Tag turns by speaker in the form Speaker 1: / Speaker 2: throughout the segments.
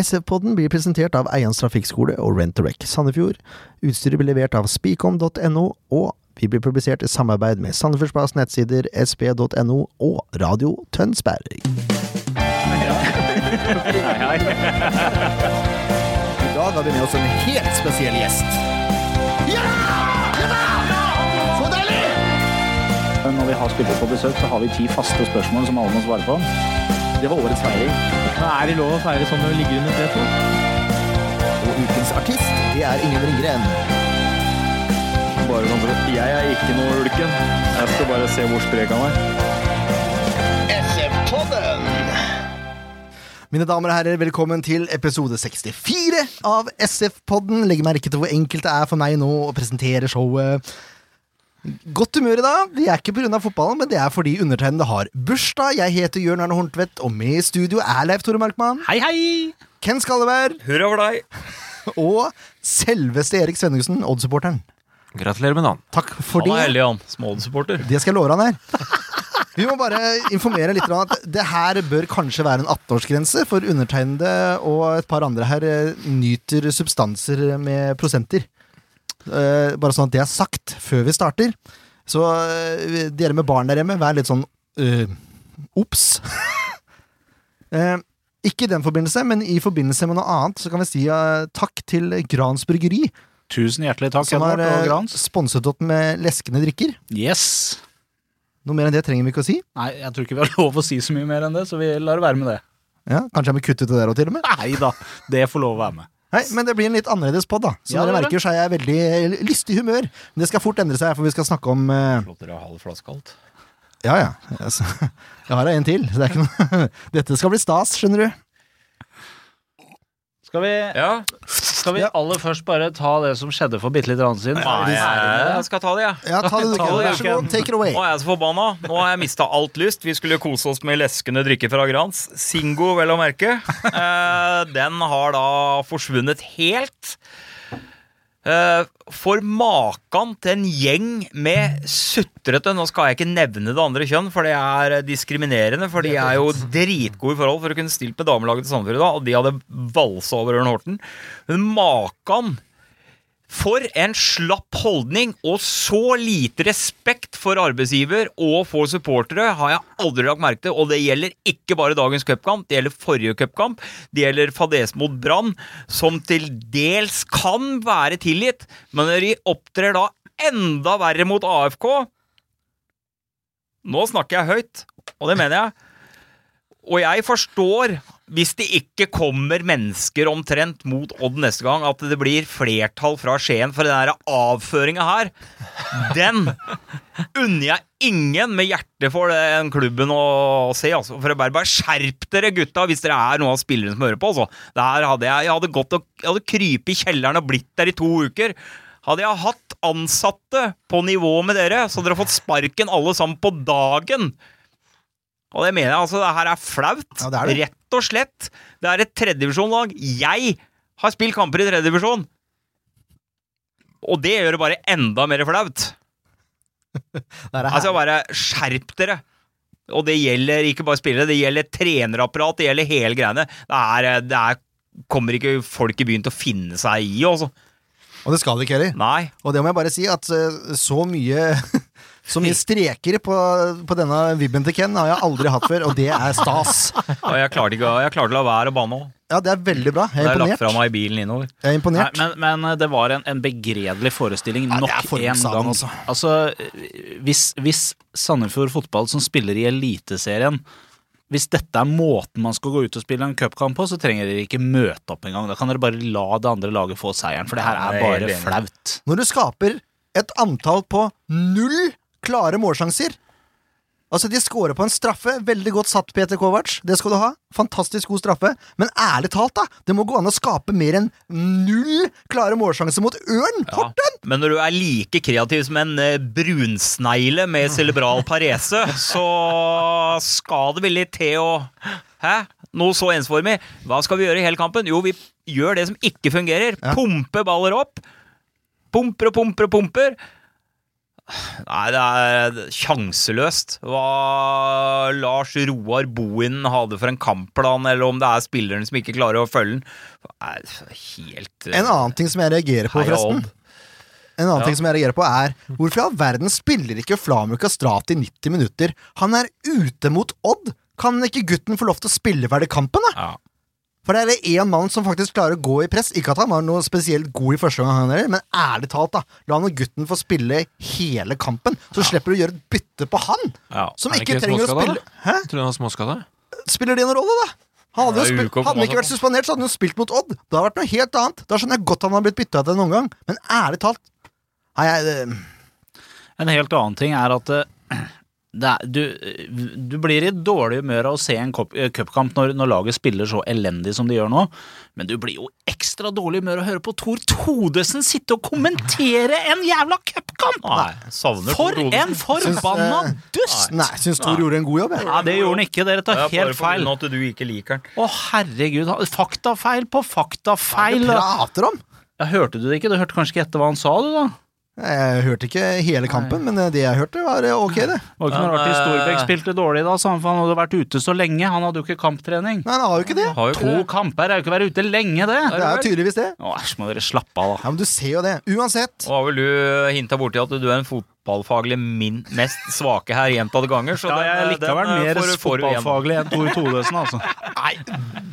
Speaker 1: SF-podden blir presentert av Eians trafikkskole og Rent-A-Wreck Sandefjord. Utstyret blir levert av speakom.no, og vi blir publisert i samarbeid med Sandefjordsplass nettsider, sp.no og Radio Tønsberg.
Speaker 2: I dag har vi med oss en helt spesiell gjest.
Speaker 3: Når vi har spillere på besøk, så har vi ti faste spørsmål som alle må svare på. Det var årets feiring.
Speaker 4: Er det lov å feire sånn når du ligger under tre?
Speaker 2: Og ukens artist, det er Ingen Ringgren.
Speaker 3: Bare sånn for at Jeg er ikke noe ulken. Jeg skal bare se hvor sprek han er.
Speaker 1: Mine damer og herrer, velkommen til episode 64 av SF-podden. Legg merke til hvor enkelt det er for meg nå å presentere showet. Godt humør i dag. Det er ikke pga. fotballen, men det er fordi undertegnede har bursdag. Jeg heter Jørn Arne Horntvedt, og med i studio er Leif Tore Markmann,
Speaker 4: Hei, hei!
Speaker 1: Ken Skalleberg
Speaker 5: Hurra for deg!
Speaker 1: og selveste Erik Svenningsen, Odd-supporteren.
Speaker 5: Gratulerer med navn.
Speaker 1: Takk for
Speaker 4: Han er
Speaker 1: det.
Speaker 4: heldig, han. Smålsupporter.
Speaker 1: Det skal jeg love han her. Vi må bare informere litt om at det her bør kanskje være en 18-årsgrense, for undertegnede og et par andre her eh, nyter substanser med prosenter. Eh, Bare sånn at det er sagt før vi starter. Så eh, dere med barn der hjemme, vær litt sånn eh, obs. Eh, Ikke i den forbindelse, men i forbindelse med noe annet, så kan vi si eh, takk til Grans Bryggeri,
Speaker 3: Tusen hjertelig takk,
Speaker 1: som har
Speaker 3: Edvard og
Speaker 1: eh,
Speaker 3: Grans.
Speaker 1: sponset oss med leskende drikker.
Speaker 3: Yes.
Speaker 1: Noe mer enn det trenger vi ikke å si.
Speaker 3: Nei, jeg tror ikke vi har lov å si så mye mer enn det, så vi lar det være med det.
Speaker 1: Ja, kanskje jeg må kutte ut det der òg, til og med.
Speaker 3: Nei da, det får lov å være med.
Speaker 1: Nei, men det blir en litt annerledes pod, da. Så
Speaker 3: Ja,
Speaker 1: dere
Speaker 3: det gjør
Speaker 1: merker, så er jeg veldig eh, lystig i humør. Men det skal fort endre seg, for vi skal snakke om eh,
Speaker 4: Flott dere har halv flaske kaldt.
Speaker 1: Ja, ja. Altså, jeg har en til, så det er ikke noe Dette skal bli stas, skjønner du.
Speaker 4: Skal vi,
Speaker 5: Ja,
Speaker 4: skal vi aller først bare ta det som skjedde for bitte litt rann siden?
Speaker 5: Nei,
Speaker 3: Eh,
Speaker 5: jeg skal ta det, jeg.
Speaker 1: Ja, ta det, du,
Speaker 5: Ta
Speaker 1: Ken.
Speaker 5: det,
Speaker 1: Vær så
Speaker 5: Ken.
Speaker 1: god. Take it away.
Speaker 5: Nå er jeg så forbanna. Nå har jeg mista alt lyst. Vi skulle kose oss med leskende drikke fra Grans. Singo, vel å merke. Eh, Den har da forsvunnet helt. Eh, For makan til en gjeng med sutrete Nå skal jeg ikke nevne det andre kjønn, for det er diskriminerende. For de er jo dritgode i forhold for å kunne stille med damelaget til Sandefjord i dag, og de hadde valsa over Ørn Horten. Men makan for en slapp holdning og så lite respekt for arbeidsgiver og for supportere har jeg aldri lagt merke til, og det gjelder ikke bare dagens cupkamp, det gjelder forrige cupkamp, det gjelder fadesen mot Brann, som til dels kan være tilgitt, men når de opptrer da enda verre mot AFK Nå snakker jeg høyt, og det mener jeg. Og jeg forstår, hvis det ikke kommer mennesker omtrent mot Odd neste gang, at det blir flertall fra Skien for den avføringa her. Den unner jeg ingen med hjerte for den klubben å se. Altså. For jeg bare, bare skjerp dere, gutta, hvis dere er noen av spillerne som hører på. Altså. Det her hadde jeg, jeg hadde gått og jeg hadde krypet i kjelleren og blitt der i to uker. Hadde jeg hatt ansatte på nivå med dere, så hadde dere fått sparken alle sammen på dagen. Og det mener jeg, altså. Det her er flaut.
Speaker 1: Ja, det er det.
Speaker 5: Rett og slett. Det er et tredjedivisjonslag. Jeg har spilt kamper i tredjedivisjon. Og det gjør det bare enda mer flaut.
Speaker 1: Der er
Speaker 5: Altså
Speaker 1: her.
Speaker 5: bare skjerp dere. Og det gjelder ikke bare spillere, det gjelder trenerapparat, det gjelder hele greiene. Det er, det er kommer ikke folk i byen til å finne seg i, altså.
Speaker 1: Og det skal det ikke heller.
Speaker 5: Nei.
Speaker 1: Og det må jeg bare si, at eh, så mye så mye streker på, på denne vibben til Ken har jeg aldri hatt før, og det er stas.
Speaker 5: Og jeg klarte ikke å- jeg klarte å la være å banne òg.
Speaker 1: Ja, det er veldig bra. Jeg
Speaker 5: Det
Speaker 1: er
Speaker 5: er lagt fra
Speaker 1: imponert.
Speaker 5: meg i bilen innover.
Speaker 1: Jeg er
Speaker 3: Nei,
Speaker 1: imponert.
Speaker 3: men, men eh, det var en, en begredelig forestilling
Speaker 1: det
Speaker 3: nok
Speaker 1: er
Speaker 3: en
Speaker 1: formiddagsaden
Speaker 3: gang.
Speaker 1: også.
Speaker 3: Altså, hvis, hvis Sandefjord fotball, som spiller i Eliteserien Hvis dette er måten man skal gå ut og spille en cupkamp på, så trenger dere ikke møte opp engang. Da kan dere bare la det andre laget få seieren, for det her
Speaker 5: Ja,
Speaker 3: er
Speaker 5: jeg er
Speaker 3: bare
Speaker 5: helt enig.
Speaker 3: flaut.
Speaker 1: Når du skaper et antall på null klare målsjanser Altså, de scorer på en straffe. Veldig godt satt, Peter Kovac. Det skal du ha. Fantastisk god straffe. Men ærlig talt, da. Det må gå an å skape mer enn null klare målsjanser mot Ørn!
Speaker 5: Ja. Men når du er like kreativ som en eh, brunsnegle med cerebral parese, så skal det vel litt til å Hæ? Noe så ensformig. Hva skal vi gjøre i hele kampen? Jo, vi gjør det som ikke fungerer. Pumpe baller opp. Pumper og pumper og pumper. Nei, det er sjanseløst hva Lars Roar Bohin hadde for en kampplan, eller om det er spilleren som ikke klarer å følge den. Er helt eh,
Speaker 1: En annen ting som jeg reagerer på,
Speaker 5: hei og
Speaker 1: forresten,
Speaker 5: odd.
Speaker 1: En annen
Speaker 5: Ja.
Speaker 1: ting som jeg reagerer på er Hvorfor i all verden spiller ikke Flamu Kastrati 90 minutter? Han er ute mot Odd! Kan ikke gutten få lov til å spille ferdig kampen, da?
Speaker 5: Ja.
Speaker 1: For det er det én mann som faktisk klarer å gå i press. Ikke at han var noe spesielt god i første gang, han heller, men ærlig talt, da. La nå gutten få spille hele kampen, så slipper du å gjøre et bytte på han!
Speaker 5: Ja.
Speaker 1: Som
Speaker 6: Er det
Speaker 1: ikke
Speaker 6: ikke
Speaker 1: trenger å
Speaker 6: småskada,
Speaker 1: spille Hæ?
Speaker 6: Tror du han har småskada?
Speaker 1: Spiller det noen rolle, da? Han hadde, jo
Speaker 5: Ja,
Speaker 1: spilt,
Speaker 5: Ullkåp
Speaker 1: hadde han
Speaker 5: kom
Speaker 1: ikke vært
Speaker 5: også.
Speaker 1: suspendert, så hadde han jo spilt mot Odd. Det hadde vært noe helt annet. Da skjønner jeg godt han har blitt bytta til en omgang, men ærlig talt Nei, jeg, eh, det-
Speaker 3: En helt annen ting er at eh, det er, du, du blir i dårlig humør av å se en cup- eh, cupkamp når, når laget spiller så elendig som de gjør nå, men du blir jo ekstra dårlig i humør av å høre på Tor Todesen sitte og kommentere en jævla cupkamp!
Speaker 5: Nei, savner
Speaker 3: For
Speaker 5: Tor Thodesen.
Speaker 3: en forbanna
Speaker 1: Syns, eh,
Speaker 3: dust!
Speaker 1: Nei, syns Tor gjorde en god jobb. Jeg.
Speaker 3: Ja, det gjorde han ikke, dere
Speaker 5: Det
Speaker 3: tar
Speaker 5: er bare
Speaker 3: helt
Speaker 5: på grunn
Speaker 3: feil.
Speaker 5: av at du ikke liker den.
Speaker 3: Å, herregud. han- Faktafeil på
Speaker 1: Hva er
Speaker 3: faktafeil.
Speaker 1: det du prater om?
Speaker 3: Ja, hørte du det ikke? Du hørte kanskje ikke etter hva han sa, du, da?
Speaker 1: Jeg hørte ikke hele kampen, men det jeg hørte, var eh, ok, det.
Speaker 3: Det var ikke noe
Speaker 5: Men,
Speaker 3: rart hvis
Speaker 5: eh,
Speaker 3: Storbekk spilte dårlig da, sa han, for han hadde vært ute så lenge. Han hadde jo ikke kamptrening.
Speaker 1: Nei, han har jo ikke det.
Speaker 5: Har jo
Speaker 3: To kamper er jo ikke å være ute lenge, det.
Speaker 1: Det er jo tydeligvis det.
Speaker 3: Å, æsj, må dere slappe av, da.
Speaker 1: Ja, Men du ser jo det. Uansett.
Speaker 5: Og har vel du hinta borti at du er en fotballfaglig min mest svake her gjentatte ganger, så
Speaker 3: Ja, jeg er
Speaker 5: den-
Speaker 3: likevel
Speaker 5: den, eh,
Speaker 3: mer
Speaker 5: får- får du igjen.
Speaker 3: fotballfaglig enn Tor Todesen, altså.
Speaker 1: Nei,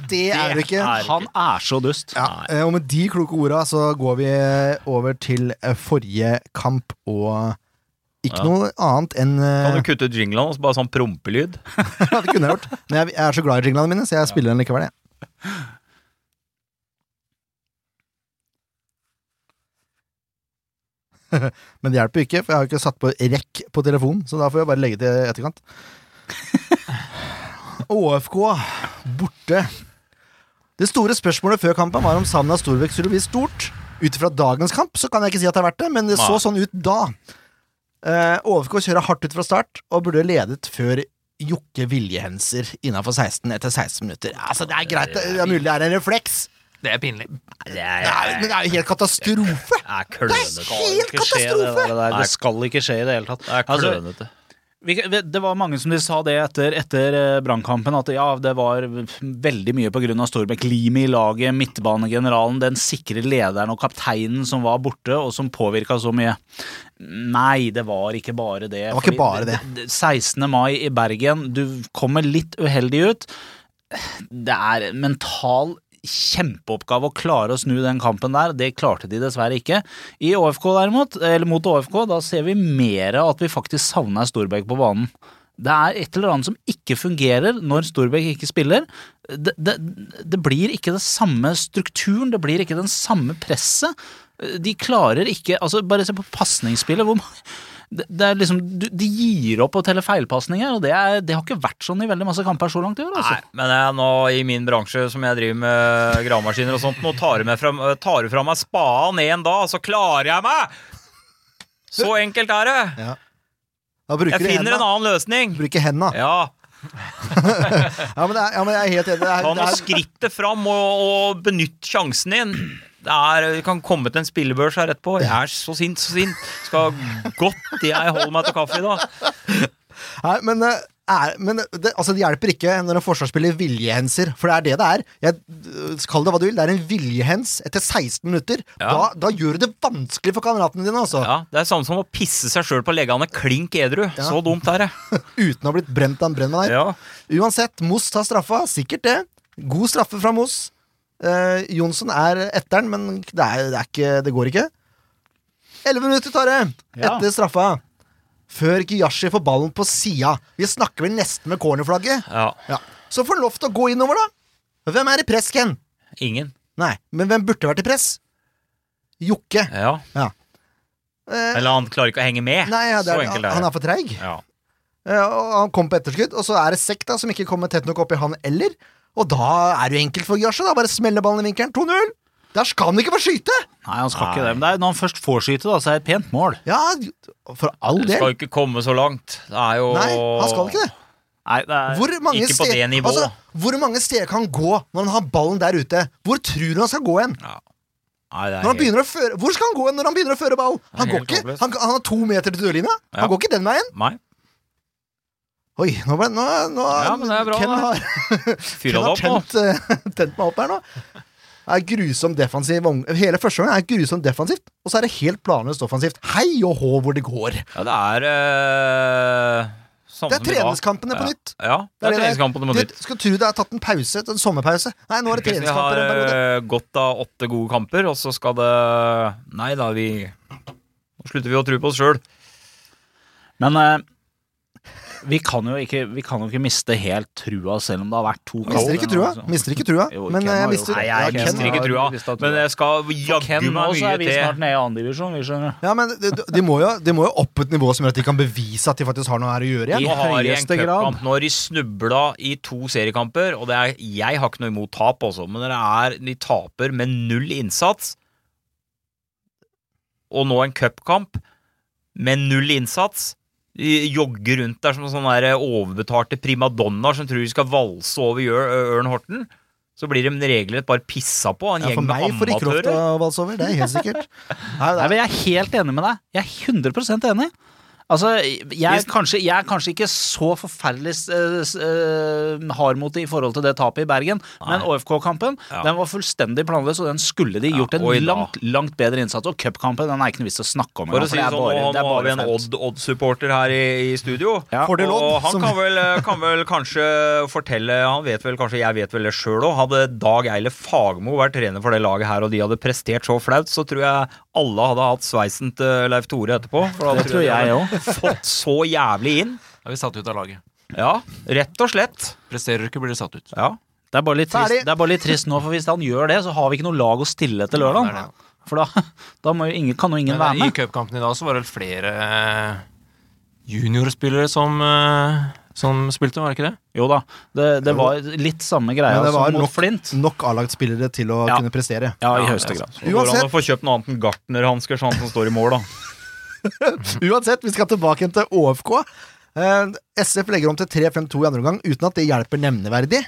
Speaker 1: det er det ikke.
Speaker 3: Han er så dust.
Speaker 1: Ja, eh, og med de kloke orda så går vi eh, over til eh, forrige kamp og ikke noe annet enn eh,
Speaker 5: Kan du kutte ut jinglen og så bare sånn prompelyd?
Speaker 1: Ja, det kunne jeg gjort. Men jeg, jeg er så glad i jinglene mine, så jeg spiller den likevel. Jeg. Men det hjelper jo ikke, for jeg har jo ikke satt på rekk på telefonen. Så da får jeg bare legge til i etterkant. ÅFK borte. Det store spørsmålet før kampen var om Samna Storbekk skulle bli stort. Ut ifra dagens kamp så kan jeg ikke si at det har vært det, men det så
Speaker 5: Nei.
Speaker 1: sånn ut da. Eh, ÅFK kjører hardt ut fra start og burde ledet før Jokke Viljehenser innafor 16 etter 16 minutter. Altså, det er greit, det er mulig det er en refleks,
Speaker 6: Det er pinlig.
Speaker 5: Det
Speaker 1: det er, men det er jo helt katastrofe!
Speaker 5: er
Speaker 1: Det er helt
Speaker 3: Det,
Speaker 1: katastrofe!
Speaker 3: der, det, der. det skal ikke skje i det hele tatt.
Speaker 5: Det er
Speaker 3: Altså,
Speaker 5: klønete.
Speaker 3: Vi, vi- det var mange som de sa det etter, etter eh, brannkampen, at ja, det var veldig mye pga. Storbekk. Limet i laget, midtbanegeneralen, den sikre lederen og kapteinen som var borte, og som påvirka så mye. Nei, det var ikke bare det.
Speaker 1: Det var ikke
Speaker 3: Fordi
Speaker 1: bare det.
Speaker 3: 16. mai i Bergen, du kommer litt uheldig ut. Det er en mental kjempeoppgave å klare å snu den kampen der. Det klarte de dessverre ikke. I ÅFK derimot, eller mot ÅFK, da ser vi mer av at vi faktisk savna Storbekk på banen. Det er et eller annet som ikke fungerer når Storbekk ikke spiller. Det, det, det blir ikke den samme strukturen, det blir ikke den samme presset. De klarer ikke altså Bare se på pasningsspillet. hvor mange- Det, det er liksom, du- de gir opp å telle feilpasninger, og det, er, det har ikke vært sånn i veldig masse kamper så langt i år. altså.
Speaker 5: Nei, men jeg, nå i min bransje som jeg driver med eh, gravemaskiner og sånt, nå tar du, med fra, tar du fra meg spaden en dag, så klarer jeg meg! Så enkelt er det.
Speaker 1: Da bruker
Speaker 5: Jeg
Speaker 1: du
Speaker 5: finner en
Speaker 1: henda.
Speaker 5: annen løsning.
Speaker 1: Bruker henda.
Speaker 5: Ja,
Speaker 1: Ja, men det er, ja, men jeg er helt enig. Det
Speaker 5: ta
Speaker 1: er, det
Speaker 5: nå
Speaker 1: er,
Speaker 5: skrittet fram og, og benytt sjansen din. Det er, vi kan komme til en spillebørs her etterpå. Jeg er så sint, så sint. Skal godt jeg holder meg til kaffe i dag.
Speaker 1: Nei, men, eh, er, men det, altså, det hjelper ikke når en forsvarsspiller viljehenser, for det er det det er. Jeg, øh, kall det hva du vil, det er en viljehens etter 16 minutter.
Speaker 5: Ja.
Speaker 1: Da, da gjør du det vanskelig for kameratene dine, altså.
Speaker 5: Ja, det er samme som å pisse seg sjøl på leggene klink edru. Så dumt er det.
Speaker 1: Uten å ha blitt brent av en brennmann her.
Speaker 5: Ja.
Speaker 1: Uansett, Moss tar straffa, sikkert det. God straffe fra Moss. Eh, Jonsson er etteren, men det, er, det, er ikke, det går ikke. Elleve minutter tar det
Speaker 3: Ja.
Speaker 1: etter straffa. Før Kiyashi får ballen på sida. Vi snakker vel nesten med cornerflagget.
Speaker 5: ja.
Speaker 1: Ja. Så får han lov til å gå innover, da. Hvem er i press, Ken?
Speaker 5: Ingen.
Speaker 1: Nei, men hvem burde vært i press? Jokke.
Speaker 5: Ja.
Speaker 1: Ja. Eh,
Speaker 5: Eller han klarer ikke å henge med.
Speaker 1: nei, ja, det
Speaker 5: så
Speaker 1: er,
Speaker 5: enkelt
Speaker 1: han
Speaker 5: er det.
Speaker 1: er for treig.
Speaker 5: Ja.
Speaker 1: Eh, og han kom på etterskudd, og så er det Sekk da som ikke kommer tett nok opp i han eller. Og da er det jo enkelt for Jasje, da. Bare smelle ballen i vinkelen. 2-0! Der skal han ikke få skyte!
Speaker 3: Nei, han skal ikke det. Men det er, når han først får skyte, da, så er det et pent mål.
Speaker 1: Ja, for all
Speaker 5: Du skal
Speaker 1: del.
Speaker 5: jo ikke komme så langt. Det er jo
Speaker 1: Nei, han skal ikke det.
Speaker 3: Nei, det er,
Speaker 1: Hvor mange
Speaker 5: Ikke på
Speaker 1: steder-
Speaker 5: det nivået.
Speaker 1: Altså, hvor mange steder kan han gå når han har ballen der ute? Hvor tror du han skal gå hen?
Speaker 5: Ja.
Speaker 3: Nei,
Speaker 1: Når
Speaker 3: det er
Speaker 1: han
Speaker 3: helt-
Speaker 1: begynner å føre, hvor skal han gå når han begynner å føre ball? Han, går
Speaker 5: helt
Speaker 1: ikke,
Speaker 5: håpløst.
Speaker 1: han, han har to meter til dørlinja.
Speaker 5: Ja.
Speaker 1: Han går ikke den veien.
Speaker 5: Nei.
Speaker 1: Oi, nå ble nå, nå,
Speaker 5: Ja, men det er bra,
Speaker 1: Ken
Speaker 5: det.
Speaker 1: har,
Speaker 5: Fyra
Speaker 1: Ken
Speaker 5: det
Speaker 1: har
Speaker 5: opp nå.
Speaker 1: tent, eh, tent meg opp her nå. Det Er grusom defensiv om- Hele første gangen er grusomt defensivt, og så er det helt planløst offensivt. Hei og hå hvor det går.
Speaker 5: Ja, det er eh,
Speaker 1: Det er
Speaker 5: samme som i dag.
Speaker 1: treningskampene på
Speaker 5: Ja.
Speaker 1: nytt.
Speaker 5: Ja, det er
Speaker 1: det
Speaker 5: treningskampene på
Speaker 1: Du
Speaker 5: nytt.
Speaker 1: skal tro det er tatt en pause, en sommerpause. Nei, nå er det
Speaker 5: Vi har
Speaker 1: treningskamper. en periode.
Speaker 5: eh, gått av åtte gode kamper, og så skal det Nei da, vi Nå slutter vi å tro på oss sjøl.
Speaker 3: Men eh, vi, kan jo ikke, vi kan jo ikke miste helt trua, selv om det har vært to
Speaker 1: Mister ikke trua.
Speaker 3: Altså.
Speaker 1: Mister ikke trua.
Speaker 3: Jo,
Speaker 1: Men
Speaker 3: Ken har
Speaker 1: jeg
Speaker 3: jo-
Speaker 1: mister
Speaker 3: Nei,
Speaker 1: ja,
Speaker 3: jeg
Speaker 1: Ken
Speaker 5: mister
Speaker 1: har-
Speaker 5: ikke trua, Men jeg skal jaggu
Speaker 3: Ken nå,
Speaker 5: meg
Speaker 3: så
Speaker 5: mye
Speaker 3: er vi snart
Speaker 5: til.
Speaker 3: nede i andre divisjon, vi skjønner.
Speaker 1: Ja, men de, de- de, må jo, de må jo opp et nivå som gjør at de kan bevise at de faktisk har noe her å gjøre igjen.
Speaker 5: Nå har de en
Speaker 3: høyeste grad.
Speaker 5: cupkamp. Nå har de snubla i to seriekamper, og det er, jeg har ikke noe imot tap, også, men dere er, de taper med null innsats. Og nå en cupkamp med null innsats. De jogger rundt der som sånne der overbetalte primadonnaer som tror de skal valse over Jør- Ørn Horten. Så blir de regelrett bare pissa på av en
Speaker 1: Ja, for
Speaker 5: gjeng med
Speaker 1: meg får ikke lov til
Speaker 5: amatører.
Speaker 1: å valse over, det er helt sikkert. Nei,
Speaker 3: Nei,
Speaker 1: det er,
Speaker 3: men Jeg er helt enig med deg. Jeg er 100 enig. Altså, jeg er,
Speaker 5: Hvis-
Speaker 3: kanskje, jeg er kanskje ikke så forferdelig eh, s- eh, hard mot det i forhold til det tapet i Bergen, men ÅFK-kampen
Speaker 5: Ja.
Speaker 3: den var fullstendig planløs, og den skulle de gjort en
Speaker 5: og i dag.
Speaker 3: langt langt bedre innsats. Og cupkampen den er ikke noe vits å snakke om.
Speaker 5: For å
Speaker 3: engang,
Speaker 5: si det
Speaker 3: det er
Speaker 5: sånn,
Speaker 3: bare-
Speaker 5: nå
Speaker 3: det er
Speaker 5: nå har vi
Speaker 3: bare
Speaker 5: en
Speaker 3: flaut.
Speaker 5: Odd- Odd-supporter her i, i studio.
Speaker 3: Ja.
Speaker 1: Fordel Odd,
Speaker 5: og han
Speaker 1: som-
Speaker 5: kan vel, kan vel kanskje fortelle Han vet vel kanskje, jeg vet vel det sjøl òg. Hadde Dag Eile Fagermo vært trener for det laget her, og de hadde prestert så flaut, så tror jeg alle hadde hatt sveisen til Leif Tore etterpå. For da
Speaker 3: Det tror jeg
Speaker 5: de
Speaker 3: òg.
Speaker 5: hadde Fått så jævlig inn.
Speaker 6: Da er vi satt ut av laget.
Speaker 5: Ja, rett og slett.
Speaker 6: Presterer du ikke, blir du satt ut.
Speaker 5: Ja.
Speaker 3: Det er, bare litt trist,
Speaker 1: Ferdig.
Speaker 3: det er bare litt trist nå, for hvis han gjør det, så har vi ikke noe lag å stille etter lørdag.
Speaker 6: Ja, det er
Speaker 3: For da, da må jo ingen, kan jo ingen være
Speaker 6: Men eh, I
Speaker 3: med.
Speaker 6: cupkampen i dag så var det vel flere eh, juniorspillere som, eh, som spilte, var det ikke det?
Speaker 3: Jo da, det, det var litt samme greia
Speaker 1: men det
Speaker 3: som
Speaker 1: var
Speaker 3: mot
Speaker 1: nok,
Speaker 3: Flint.
Speaker 1: nok A-lagsspillere til å
Speaker 3: Ja.
Speaker 1: kunne prestere.
Speaker 3: Ja, i høyeste grad.
Speaker 5: Så går det an
Speaker 1: Uansett.
Speaker 5: å få kjøpt noe annet enn gartnerhansker, sånn som står i mål, da.
Speaker 1: Uansett, vi skal tilbake igjen til ÅFK. Eh, SF legger om til 3-5-2 i andre omgang uten at det hjelper nevneverdig.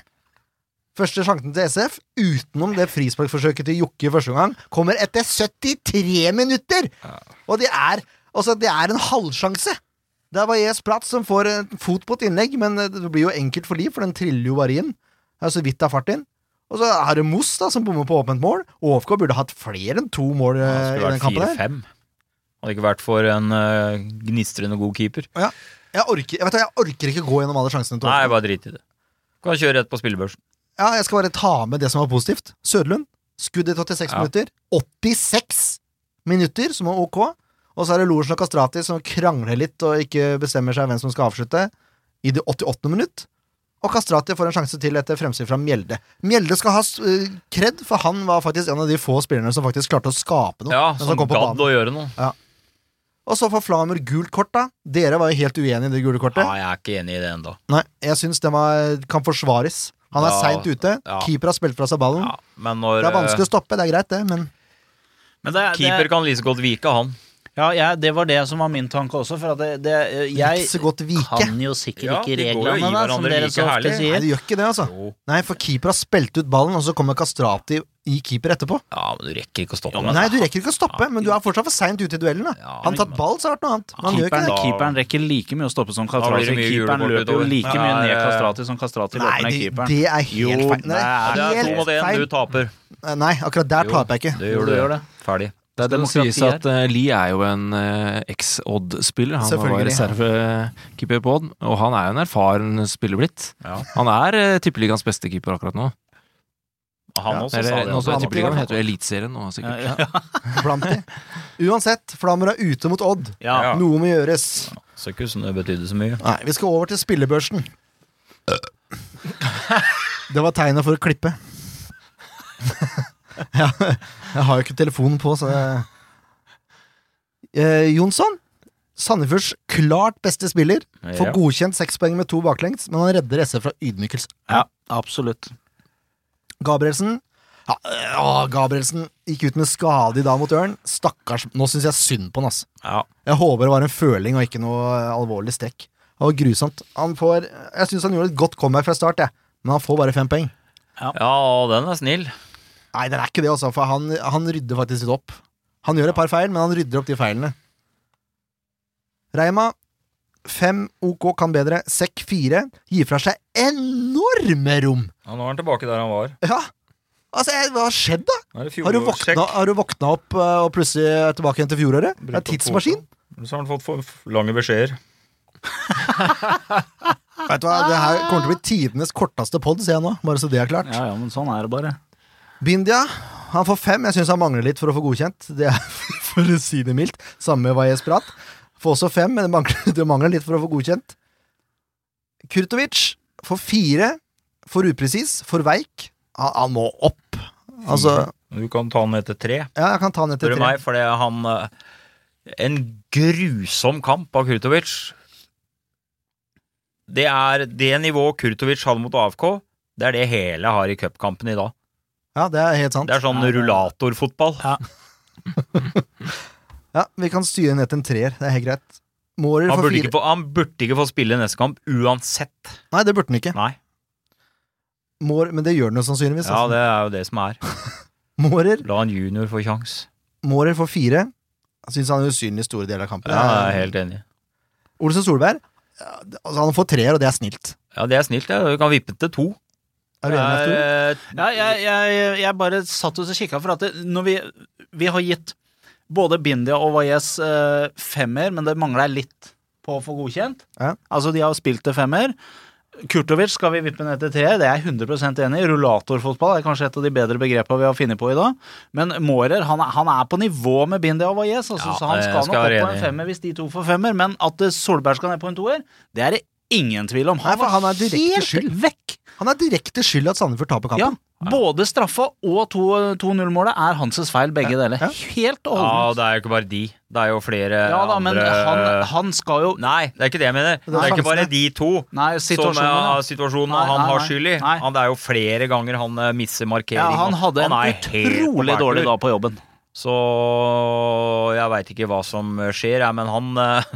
Speaker 1: Første sjansen til SF, utenom det frisparkforsøket til Jokke i første omgang, kommer etter 73 minutter! Og det er, altså, det er en halvsjanse! Det er Valles Platz som får en fot på et innlegg, men eh, det blir jo enkelt for liv, for den triller jo bare inn. Det er så vidt det er fart inn. Og så er det Moss da, som bommer på åpent mål. OFK burde hatt flere enn to mål eh,
Speaker 5: Det
Speaker 1: i
Speaker 5: skulle
Speaker 1: den
Speaker 5: vært
Speaker 1: kampen. her.
Speaker 5: fire-fem. Hadde ikke vært for en eh, gnistrende god keeper.
Speaker 1: Jeg orker, jeg, vet, hva, jeg orker ikke gå gjennom alle sjansene. til
Speaker 5: Nei,
Speaker 1: Åsmund.
Speaker 5: bare drit i det. Kan kjøre rett på spillebørsen.
Speaker 1: ja, jeg skal bare ta med det som var positivt. Søderlund, skudd i 86
Speaker 5: Ja.
Speaker 1: minutter. 86 minutter, som var ok. Og så er det Lorsen og Kastrati som krangler litt og ikke bestemmer seg hvem som skal avslutte, i det 88. minutt. Og Kastrati får en sjanse til etter fremsyn fra Mjelde. Mjelde skal ha eh, kred, for han var faktisk en av de få spillerne som faktisk klarte å skape noe.
Speaker 5: Ja,
Speaker 1: mens han
Speaker 5: som
Speaker 1: kom på
Speaker 5: gadd
Speaker 1: banen.
Speaker 5: å gjøre noe.
Speaker 1: Og så får Flamer gult kort, da. Dere var jo helt uenige i det gule kortet.
Speaker 5: Ja, jeg er ikke enig i det ennå.
Speaker 1: Nei, jeg syns den var, kan forsvares. Han er
Speaker 5: Ja,
Speaker 1: seint ute.
Speaker 5: ja.
Speaker 1: Keeper har spilt fra seg ballen.
Speaker 5: Ja, men når
Speaker 1: Det er vanskelig å stoppe, det er greit, det, men
Speaker 3: Men det,
Speaker 5: eh, Keeper kan like godt vike, han.
Speaker 3: Ja, jeg, det var det som var min tanke også, for at det, det, jeg
Speaker 1: ikke så godt vike.
Speaker 3: kan jo sikkert
Speaker 5: Ja,
Speaker 3: ikke
Speaker 5: de går jo i
Speaker 3: reglene, da, som
Speaker 5: hverandre
Speaker 3: dere
Speaker 5: like
Speaker 3: så ofte
Speaker 5: herlig.
Speaker 1: Nei,
Speaker 3: sier.
Speaker 1: det gjør ikke det, altså.
Speaker 5: Jo.
Speaker 1: Nei, for keeper har spilt ut ballen, og så kommer Kastrati i keeper etterpå.
Speaker 5: Ja, men du rekker ikke å stoppe
Speaker 1: Nei, du rekker ikke å stoppe, men du er fortsatt for seint ute i duellen. da
Speaker 5: Ja,
Speaker 1: Han tatt ball, så har det vært noe annet. Men han gjør ikke
Speaker 3: Keeperen,
Speaker 1: det.
Speaker 3: keeperen rekker like mye å stoppe som
Speaker 5: blir
Speaker 3: Kastrati.
Speaker 5: det mye
Speaker 3: Keeperen
Speaker 5: julekort
Speaker 3: løper jo
Speaker 5: utover.
Speaker 3: like mye
Speaker 5: Nei,
Speaker 3: ned
Speaker 5: eh,
Speaker 3: Kastrati som Kastrati løper
Speaker 1: Nei,
Speaker 3: ned
Speaker 1: det,
Speaker 3: keeperen.
Speaker 1: det er helt
Speaker 3: Jo,
Speaker 1: feil. Nei,
Speaker 3: nei,
Speaker 5: Det er to
Speaker 1: helt
Speaker 5: mot én,
Speaker 1: feil.
Speaker 5: du taper.
Speaker 1: Nei, akkurat der
Speaker 5: Jo,
Speaker 1: taper jeg ikke.
Speaker 5: Det gjør du. Ferdig.
Speaker 6: Det
Speaker 3: Skal
Speaker 6: må
Speaker 3: demokrati
Speaker 6: sies at eh, Lee er jo en eh, eks-Odd-spiller. Han var
Speaker 1: Selvfølgelig.
Speaker 6: reservekeeper på Odd, og han er jo en erfaren spiller blitt. Han er eh, tippeligaens beste keeper akkurat nå.
Speaker 5: Han også sa
Speaker 6: Eller,
Speaker 5: det.
Speaker 6: nå
Speaker 5: altså.
Speaker 6: som er tippeligaen
Speaker 5: Han-
Speaker 6: heter jo Eliteserien nå, sikkert.
Speaker 1: Blant de. Uansett, Flammer er ute mot Odd.
Speaker 3: Ja.
Speaker 5: Ja.
Speaker 1: Noe må gjøres.
Speaker 5: Så ikke ut som det betydde så mye.
Speaker 1: Nei, vi skal over til spillebørsen. Det var tegnet for å klippe. Ja, jeg har jo ikke telefonen på, så jeg... eh, Jonsson, Sandefjords klart beste spiller, får
Speaker 5: Ja.
Speaker 1: godkjent seks poeng med to baklengs, men han redder SF fra ydmykelse.
Speaker 3: ja, absolutt.
Speaker 1: Gabrielsen ja, å, Gabrielsen gikk ut med skade i dag mot Ørn. Stakkars. Nå syns jeg synd på han, ass.
Speaker 5: Ja.
Speaker 1: Jeg håper det var en føling og ikke noe eh, alvorlig strekk. Det var grusomt. Han får, jeg syns han gjorde et godt comeback fra start, jeg. men han får bare fem poeng.
Speaker 5: ja, og den er snill.
Speaker 1: Nei, den er ikke det, altså, for han, han rydder faktisk litt opp. Han gjør et par feil, men han rydder opp de feilene. Reima 5 OK kan bedre. Sekk 4 gir fra seg enorme rom.
Speaker 5: Ja, nå er han tilbake der han var.
Speaker 1: Ja. Altså, jeg, hva har skjedd, da?
Speaker 5: Nå
Speaker 1: Har
Speaker 5: er det
Speaker 1: du
Speaker 5: fjorårssjekk.
Speaker 1: våkna, har du våkna opp eh, og plutselig er tilbake igjen til fjoråret? Det
Speaker 5: Brukt
Speaker 1: er
Speaker 5: opp
Speaker 1: tidsmaskin.
Speaker 5: kvoten. Så har han fått for for lange beskjeder.
Speaker 1: Vet du hva, Det her kommer til å bli tidenes korteste pod, ser jeg nå. Bare så det er klart.
Speaker 3: Ja, ja, men sånn er det bare.
Speaker 1: Bindia, han får fem. Jeg syns han mangler litt for å få godkjent. Det er For å si det mildt. Samme med Vajez Prat. Får også fem, men det mangler, det mangler litt for å få godkjent. Kurtovic får fire. For upresis. For veik. Han, han må opp. Altså
Speaker 5: Du kan ta han etter tre.
Speaker 1: Ja, jeg kan ta han etter
Speaker 5: Spør du
Speaker 1: tre.
Speaker 5: meg, for det er han eh, En grusom kamp av Kurtovic. Det er det nivået Kurtovic hadde mot AFK. Det er det hele har i cupkampen i dag.
Speaker 1: Ja, det er helt sant.
Speaker 5: Det er sånn rullatorfotball.
Speaker 1: Ja, Vi kan styre ned til en treer. Det er helt greit. Mårer
Speaker 5: Han
Speaker 1: får
Speaker 5: burde, ikke
Speaker 1: fire.
Speaker 5: få, han burde ikke få spille neste kamp uansett.
Speaker 1: Nei, det burde han ikke.
Speaker 5: Nei.
Speaker 1: Mårer, men det gjør han jo sannsynligvis.
Speaker 5: Ja,
Speaker 1: altså.
Speaker 5: det er jo det som er.
Speaker 1: Mårer,
Speaker 5: La en junior få kjangs.
Speaker 1: Mårer får fire. Jeg syns han er usynlig i store deler av kampen.
Speaker 5: Ja, jeg er helt enig.
Speaker 1: Olsen Solberg, ja, altså, han får treer, og det er snilt.
Speaker 5: Ja, det er snilt. det. Du kan vippe den til to.
Speaker 1: Er du enig med
Speaker 5: eh.
Speaker 1: Tor?
Speaker 3: Ja, jeg, jeg, jeg bare satt og kikka, for at det, når vi, vi har gitt både Bindia og Vajez eh, femmer, men det mangla litt på å få godkjent.
Speaker 1: Ja.
Speaker 3: Altså, de har spilt til femmer. Kurtovic skal vi vippe ned til tre, det er jeg 100 enig i. Rullatorfotball er kanskje et av de bedre begrepene vi har funnet på i dag. Men Mårer han, er- han er på nivå med Bindia og Vajez, altså,
Speaker 5: Ja,
Speaker 3: så han
Speaker 5: jeg
Speaker 3: skal,
Speaker 5: skal
Speaker 3: nok opp
Speaker 5: være
Speaker 3: på
Speaker 5: enig.
Speaker 3: en femmer hvis de to får femmer. Men at eh, Solberg skal ned på en toer, det er det ingen tvil om.
Speaker 1: Nei, for han er direkte
Speaker 3: helt
Speaker 1: skyld.
Speaker 3: vekk.
Speaker 1: Han er direkte skyld i at Sandefjord taper
Speaker 3: Ja,
Speaker 1: kampen.
Speaker 3: både straffa og 2-0-målet er Hanses feil, begge deler. Helt og
Speaker 5: Ja,
Speaker 3: holdent.
Speaker 5: det er jo ikke bare de. Det er jo flere
Speaker 3: Ja da, men
Speaker 5: andre
Speaker 3: han, han skal jo
Speaker 5: Nei, det er ikke det jeg mener. Det er ikke bare de to
Speaker 3: Nei,
Speaker 5: som
Speaker 3: situasjonen
Speaker 5: er
Speaker 3: ja.
Speaker 5: situasjonen
Speaker 3: Nei,
Speaker 5: han
Speaker 3: nei,
Speaker 5: har
Speaker 3: nei.
Speaker 5: skyld i.
Speaker 3: Nei.
Speaker 5: Han, det er jo flere ganger han eh, misser markering.
Speaker 3: ja, Han hadde en
Speaker 5: er helt på
Speaker 3: utrolig
Speaker 5: bærtur.
Speaker 3: dårlig dag på jobben.
Speaker 5: Så jeg veit ikke hva som skjer, jeg, men han eh,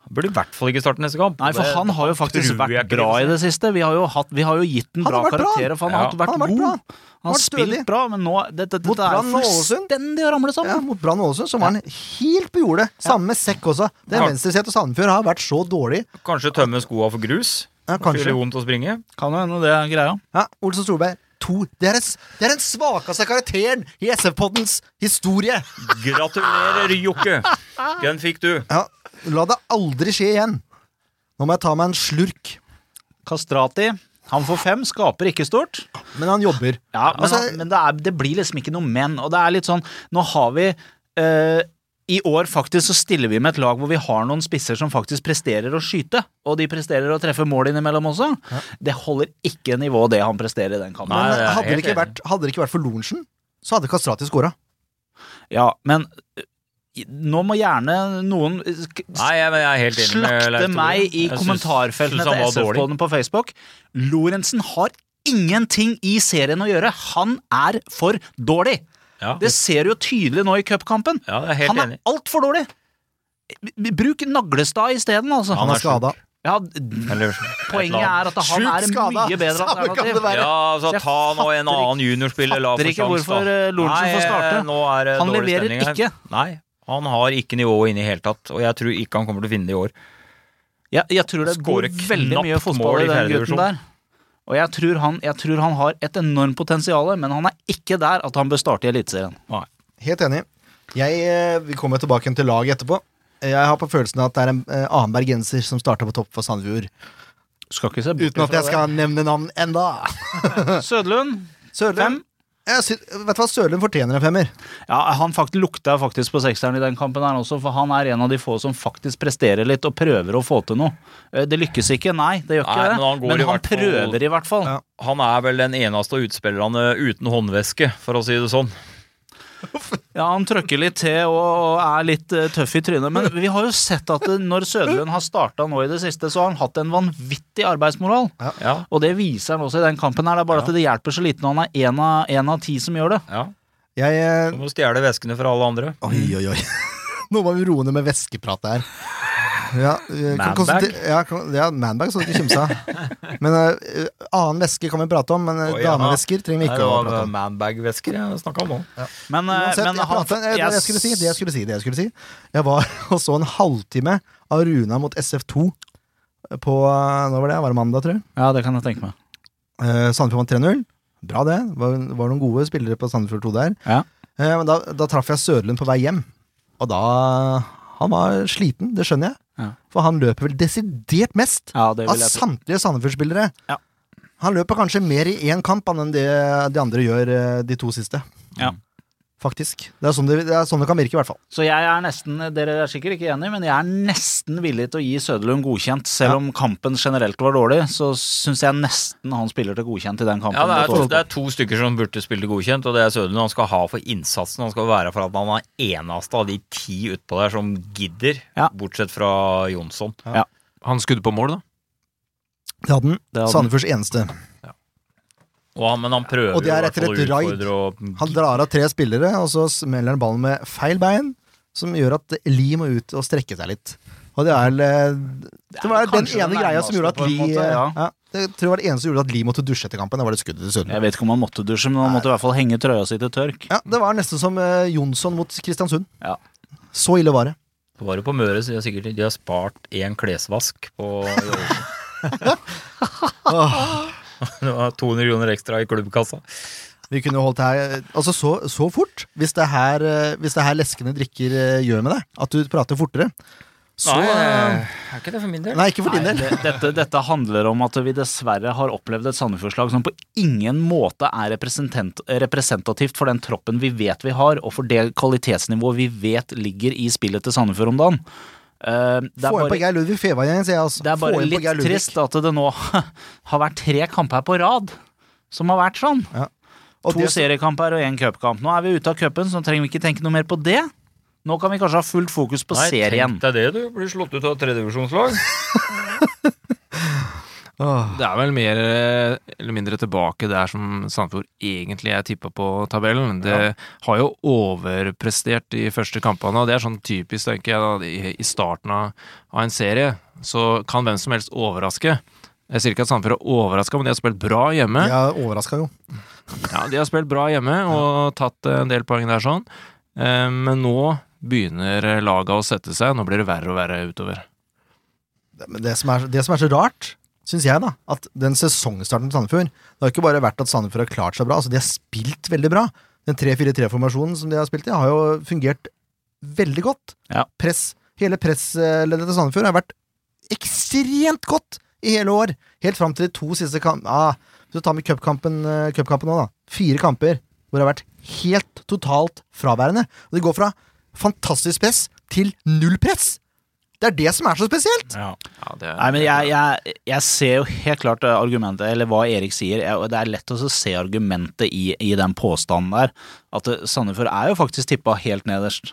Speaker 5: han burde i hvert fall ikke starte neste kamp.
Speaker 3: Nei, for
Speaker 5: Det-
Speaker 3: han har jo faktisk
Speaker 5: tror jeg
Speaker 3: vært
Speaker 5: ikke
Speaker 3: bra
Speaker 5: det.
Speaker 3: i det siste. Vi har jo, hatt, vi har jo gitt den
Speaker 1: Han
Speaker 3: bra
Speaker 1: har vært bra.
Speaker 3: karakterer, for han har
Speaker 5: Ja,
Speaker 3: hatt-
Speaker 1: Han
Speaker 3: vært
Speaker 1: har vært
Speaker 3: god.
Speaker 1: bra.
Speaker 3: Han har
Speaker 1: Vært
Speaker 3: spilt
Speaker 1: stødig.
Speaker 3: bra, men nå Dette, dette,
Speaker 1: Mot
Speaker 3: dette er
Speaker 1: Brann og Ålesund.
Speaker 3: fullstendig å ramle
Speaker 1: Ja,
Speaker 3: sammen.
Speaker 1: mot Brann Ålesund så var han helt på jordet. Samme sekk også. Det
Speaker 5: Ja.
Speaker 1: venstresida til Sandefjord har vært så dårlig.
Speaker 5: Kanskje tømme skoa for grus.
Speaker 1: Ja,
Speaker 5: Kanskje det
Speaker 1: kanskje.
Speaker 5: gjør vondt å springe.
Speaker 3: Kan jo hende det er greia.
Speaker 1: Ja, Olsen Solberg, to. Det er, en s- det er den svakeste karakteren i SF-poddens historie.
Speaker 5: Gratulerer, Jokke! Den fikk du.
Speaker 1: Ja, La det aldri skje igjen. Nå må jeg ta meg en slurk.
Speaker 3: Kastrati, han får fem, skaper ikke stort.
Speaker 1: Men han jobber.
Speaker 3: Ja, men,
Speaker 1: Altså-
Speaker 3: han- men det, er, det blir liksom ikke noe men. Og det er litt sånn Nå har vi eh, I år faktisk så stiller vi med et lag hvor vi har noen spisser som faktisk presterer å skyte. Og de presterer å treffe mål innimellom også. Det holder ikke nivået det han presterer i den kampen.
Speaker 5: Nei,
Speaker 1: Men
Speaker 5: det er
Speaker 1: hadde, det
Speaker 5: helt
Speaker 1: ikke
Speaker 5: enig.
Speaker 1: vært, hadde det ikke vært for Lorentzen, så hadde Kastrati skåra.
Speaker 3: Ja, men eh, i- nå må gjerne noen eh, sk-
Speaker 5: Nei, jeg, men jeg er helt enig med Leif
Speaker 3: slakte
Speaker 5: Tore.
Speaker 3: meg i
Speaker 5: Jeg syns-
Speaker 3: kommentarfeltene
Speaker 5: syns han
Speaker 3: til
Speaker 5: var dårlig.
Speaker 3: SF-poden på Facebook. Lorentzen har ingenting i serien å gjøre. Han er for dårlig.
Speaker 5: Ja.
Speaker 3: Det ser du jo tydelig nå i cupkampen.
Speaker 5: Ja, jeg er helt
Speaker 3: han
Speaker 5: enig.
Speaker 3: er altfor dårlig. B- Bruk Naglestad isteden, altså.
Speaker 1: Han er skada.
Speaker 3: Ja, d-
Speaker 5: Eller,
Speaker 3: poenget er at han
Speaker 1: Sjukt
Speaker 3: er en
Speaker 1: skada.
Speaker 3: mye bedre
Speaker 1: Samme kan det
Speaker 3: alternativ.
Speaker 1: være.
Speaker 5: Ja, altså
Speaker 3: Jeg
Speaker 5: ta nå
Speaker 3: fatter
Speaker 5: en annen juniorspiller. La
Speaker 3: fatter
Speaker 5: få
Speaker 3: ikke
Speaker 5: sjans,
Speaker 3: hvorfor,
Speaker 5: da.
Speaker 3: eh, Lorentzen
Speaker 5: Nei,
Speaker 3: får starte.
Speaker 5: eh, Nå er det
Speaker 3: Han
Speaker 5: dårlig
Speaker 3: leverer
Speaker 5: stemning her.
Speaker 3: ikke.
Speaker 5: Nei, han har ikke nivået inne i hele tatt, og jeg tror ikke han kommer til å finne det i år.
Speaker 3: Jeg, jeg tror det går
Speaker 5: Skårer
Speaker 3: veldig mye
Speaker 5: knapt
Speaker 3: fotball
Speaker 5: mål
Speaker 3: i
Speaker 5: i
Speaker 3: den
Speaker 5: fjerde
Speaker 3: gutten
Speaker 5: divisjon.
Speaker 3: der. Og jeg tror, han, jeg tror han har et enormt potensial, men han er ikke der at han bør starte i Eliteserien.
Speaker 1: Helt enig. Jeg, eh, vi kommer tilbake igjen til laget etterpå. Jeg har på følelsen at det er en eh, annen bergenser som starter på topp for Sandefjord.
Speaker 3: Skal ikke se bort
Speaker 1: Uten at
Speaker 3: ifra
Speaker 1: jeg skal nevne navn enda.
Speaker 3: det. Sødlund
Speaker 1: Sørlund.
Speaker 3: Fem.
Speaker 1: Jeg sy vet du hva, Sørlund fortjener en femmer.
Speaker 3: Ja, han fakt lukta faktisk på sekseren i den kampen her også, for han er en av de få som faktisk presterer litt og prøver å få til noe. Eh, Det lykkes ikke, nei, det gjør ikke
Speaker 5: Nei,
Speaker 3: det,
Speaker 5: men han går i hvert fall-
Speaker 3: prøver i hvert fall.
Speaker 1: Ja.
Speaker 5: Han er vel den eneste av utspillerne uten håndveske, for å si det sånn.
Speaker 3: Ja, han trøkker litt til og er litt eh, tøff i trynet, men vi har jo sett at eh, når Sødlund har starta nå i det siste, så har han hatt en vanvittig arbeidsmoral.
Speaker 5: Ja,
Speaker 3: Og det viser han også i den kampen her, det er bare at det hjelper så lite når han er én av, en av ti som gjør det.
Speaker 5: ja.
Speaker 1: Jeg eh,
Speaker 5: Du må stjele veskene fra alle andre.
Speaker 1: Oi, oi, oi. Nå må vi roe ned med væskepratet her. Ja, eh, kan
Speaker 3: Manbag?
Speaker 1: konsentre- ja, kan- ja, manbag, så du ikke kimsa. Men eh, annen væske kan vi prate om, men eh,
Speaker 5: Å, ja.
Speaker 1: damevæsker trenger vi
Speaker 5: Det
Speaker 1: ikke å prate
Speaker 5: var
Speaker 1: om.
Speaker 5: manbag-væsker jeg snakka om nå.
Speaker 3: Men, eh,
Speaker 1: Uansett,
Speaker 3: men
Speaker 1: jeg
Speaker 3: han-
Speaker 1: pratet, eh, det jeg skulle si, det jeg skulle si, det jeg skulle si. Jeg var og så en halvtime av Runa mot SF2 på eh, Hva var det? Var det mandag, tror jeg?
Speaker 3: Ja, det kan jeg tenke meg.
Speaker 1: Eh, Sandefjord vant 3-0. Bra, det. Var, var noen gode spillere på Sandefjord 2 der.
Speaker 3: Ja.
Speaker 1: Eh, men da, da traff jeg Sørlund på vei hjem, og da Han var sliten, det skjønner jeg.
Speaker 3: Ja.
Speaker 1: For han løper vel desidert mest
Speaker 3: Ja, det
Speaker 1: av
Speaker 3: vil jeg tro.
Speaker 1: samtlige Sandefjord-spillere.
Speaker 3: Ja.
Speaker 1: Han løper kanskje mer i én kamp enn det de andre gjør eh, de to siste.
Speaker 3: Ja.
Speaker 1: Faktisk. Det er, sånn det, det er sånn det kan virke, i hvert fall.
Speaker 3: Så jeg er nesten, dere er sikkert ikke enige, men jeg er nesten villig til å gi Søderlund godkjent. Selv
Speaker 1: Ja.
Speaker 3: om kampen generelt var dårlig, så syns jeg nesten han spiller til godkjent i den kampen.
Speaker 5: Ja, det er,
Speaker 3: mot
Speaker 5: to,
Speaker 3: Ålesund.
Speaker 5: det er to stykker som burde spille godkjent, og det er Sødlund. Han skal ha for innsatsen. Han skal være for at han er eneste av de ti utpå der som gidder,
Speaker 3: Ja.
Speaker 5: bortsett fra Jonsson.
Speaker 6: Han skudde på mål, da.
Speaker 1: Det hadde han.
Speaker 3: Det hadde han.
Speaker 1: Sandefjords eneste.
Speaker 5: Og han, men han prøver
Speaker 1: Og det
Speaker 5: jo
Speaker 1: er
Speaker 5: i hvert
Speaker 1: etter et
Speaker 5: fall å
Speaker 1: raid.
Speaker 5: utfordre og
Speaker 1: Han drar av tre spillere, og så smeller han ballen med feil bein, som gjør at Li må ut og strekke seg litt. Og det er vel eh, Det var den
Speaker 3: kanskje
Speaker 1: ene
Speaker 3: det
Speaker 1: greia som gjorde at
Speaker 3: nærmeste på en
Speaker 1: Li
Speaker 3: måte, ja.
Speaker 1: ja, Det tror jeg var det eneste som gjorde at Li måtte dusje etter kampen. Det var det skuddet til Sund.
Speaker 3: Jeg vet ikke om han måtte dusje, men han måtte i hvert fall henge trøya si til tørk.
Speaker 1: Ja, det var nesten som eh, Jonsson mot Kristiansund.
Speaker 3: Ja.
Speaker 1: Så ille var det.
Speaker 5: Var det på Møre, så de har sikkert de har spart én klesvask på Det var 200 kroner ekstra i klubbkassa.
Speaker 1: Vi kunne jo holdt det her Altså, så, så fort. Hvis det her, eh, hvis det her leskende drikker eh, gjør med deg, at du prater fortere, så eh,
Speaker 5: er ikke det for min del.
Speaker 1: Nei, ikke for din
Speaker 3: Nei,
Speaker 1: del.
Speaker 3: det- dette, dette handler om at vi dessverre har opplevd et Sandefjordslag som på ingen måte er representant- representativt for den troppen vi vet vi har, og for det kvalitetsnivået vi vet ligger i spillet til Sandefjord om dagen. Eh, det er
Speaker 1: Få inn på
Speaker 3: bare,
Speaker 1: Geir Ludvig Feva igjen, sier jeg. Altså.
Speaker 3: det er
Speaker 1: Få
Speaker 3: bare
Speaker 1: inn på
Speaker 3: litt
Speaker 1: Geir Ludvig.
Speaker 3: trist at det nå har vært tre kamper på rad som har vært sånn.
Speaker 1: Og
Speaker 3: to
Speaker 1: det-
Speaker 3: seriekamper og én cupkamp. Nå er vi ute av cupen, så nå trenger vi ikke tenke noe mer på det. Nå kan vi kanskje ha fullt fokus på serien.
Speaker 5: Tenk deg det, du. Blir slått ut av tredjevisjonslag.
Speaker 1: Åh.
Speaker 6: Det er vel mer eh, eller mindre tilbake der som Sandefjord egentlig er tippa på tabellen. Det har jo overprestert de første kampene, og det er sånn typisk, tenker jeg, da, i, i starten av, av en serie. Så kan hvem som helst overraske. Jeg sier ikke at Sandefjord har overraska, men de har spilt bra hjemme.
Speaker 1: Jeg er overraska, jo.
Speaker 6: Ja, de har spilt bra hjemme og tatt eh, en del poeng der sånn. Eh, Men nå begynner laga å sette seg, nå blir det verre og verre utover.
Speaker 1: Men det som er, det som er så rart, syns jeg, da, at den sesongstarten til Sandefjord Det har ikke bare vært at Sandefjord har klart seg bra, altså de har spilt veldig bra. Den 3-4-3-formasjonen som de har spilt i, har jo fungert veldig godt.
Speaker 3: Ja.
Speaker 1: Press, hele pressleddet til Sandefjord har vært ekstremt godt i hele år. Helt fram til de to siste kampene ah, Hvis du tar med cupkampen eh, cupkampen nå, da. Fire kamper hvor det har vært helt totalt fraværende. Og det går fra fantastisk press til null press! Det er det som er så spesielt!
Speaker 6: Ja, det
Speaker 3: Nei, men jeg, jeg, jeg ser jo helt klart eh, argumentet, eller hva Erik sier. Jeg, og det er lett å så se argumentet i, i den påstanden der. At eh, Sandefjord er jo faktisk tippa helt nederst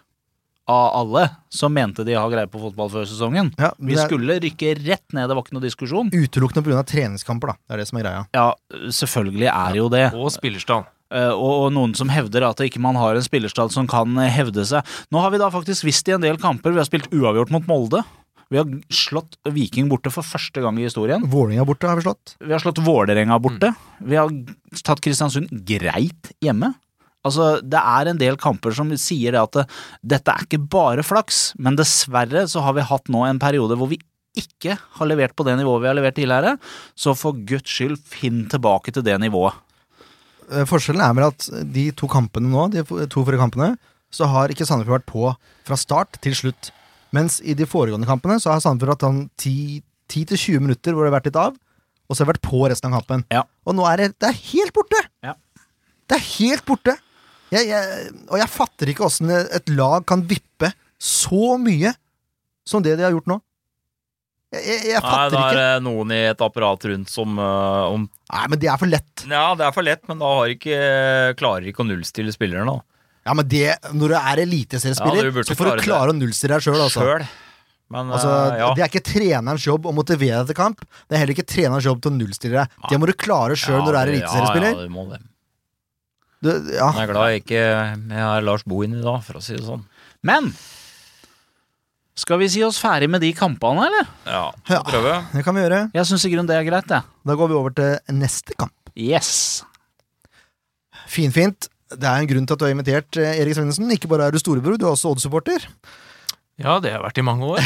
Speaker 3: av alle som mente de har greie på fotball før sesongen.
Speaker 1: Ja,
Speaker 3: Vi
Speaker 1: det er
Speaker 3: skulle rykke rett ned, det var ikke noe diskusjon.
Speaker 1: Utelukkende pga. treningskamper, da. Det er det som er greia.
Speaker 3: Ja, selvfølgelig er jo det.
Speaker 6: Og spillerstand.
Speaker 3: Eh, og, og noen som hevder at ikke man har en spillerstall som kan eh, hevde seg. Nå har vi da faktisk visst i en del kamper, vi har spilt uavgjort mot Molde. Vi har slått Viking borte for første gang i historien.
Speaker 1: Vålinga borte, har vi slått.
Speaker 3: Vi har slått Vålerenga borte. Vi har tatt Kristiansund greit hjemme. Altså, Det er en del kamper som sier det at det, dette er ikke bare flaks, men dessverre så har vi hatt nå en periode hvor vi ikke har levert på det nivået vi har levert tidligere. Så for guds skyld, finn tilbake til det nivået.
Speaker 1: Eh, Forskjellen er vel at de to kampene nå, de f- to forrige kampene, så har ikke Sandefjord vært på fra start til slutt. Mens i de foregående kampene så har Sandefjord hatt sånn 10 10-20 minutter hvor det har vært litt av, og så har det vært på resten av kampen.
Speaker 3: Ja.
Speaker 1: Og nå er det, det er helt borte!
Speaker 3: Ja.
Speaker 1: Det er helt borte! Jeg, jeg, og jeg fatter ikke åssen et lag kan vippe så mye som det de har gjort nå. Jeg, jeg, jeg
Speaker 5: Nei,
Speaker 1: fatter
Speaker 5: da er
Speaker 1: ikke.
Speaker 5: det noen i et apparat rundt som øh, om
Speaker 1: Nei, men det er for lett.
Speaker 5: Ja, det er for lett, men da har ikke, eh, klarer ikke å nullstille spilleren da.
Speaker 1: Ja, men det, når du er
Speaker 5: Ja,
Speaker 1: eliteseriespiller,
Speaker 5: du burde
Speaker 1: så får du
Speaker 5: klare
Speaker 1: klare å nullstille deg sjøl, altså.
Speaker 5: Sjøl. Men
Speaker 1: altså
Speaker 5: øh, ja.
Speaker 1: Det er ikke trenerens jobb å motivere deg til kamp. Det er heller ikke trenerens jobb til å nullstille deg. Det må du klare sjøl når du er
Speaker 5: det-
Speaker 1: eliteseriespiller.
Speaker 5: Ja, ja, du må det.
Speaker 1: Du- Ja,
Speaker 5: Men jeg er glad jeg ikke jeg har Lars Bohin i dag, for å si det sånn.
Speaker 3: Men Skal vi si oss ferdig med de kampene, eller?
Speaker 5: Ja,
Speaker 1: Ja.
Speaker 5: prøve.
Speaker 1: Det kan vi gjøre.
Speaker 3: Jeg syns i grunnen det er greit, jeg.
Speaker 1: Da går vi over til neste kamp.
Speaker 3: Yes.
Speaker 1: Finfint. Det er en grunn til at du har invitert eh, Erik Svenningsen. Ikke bare er du storebror, du er også Odd-supporter.
Speaker 6: Ja, det har vært i mange år.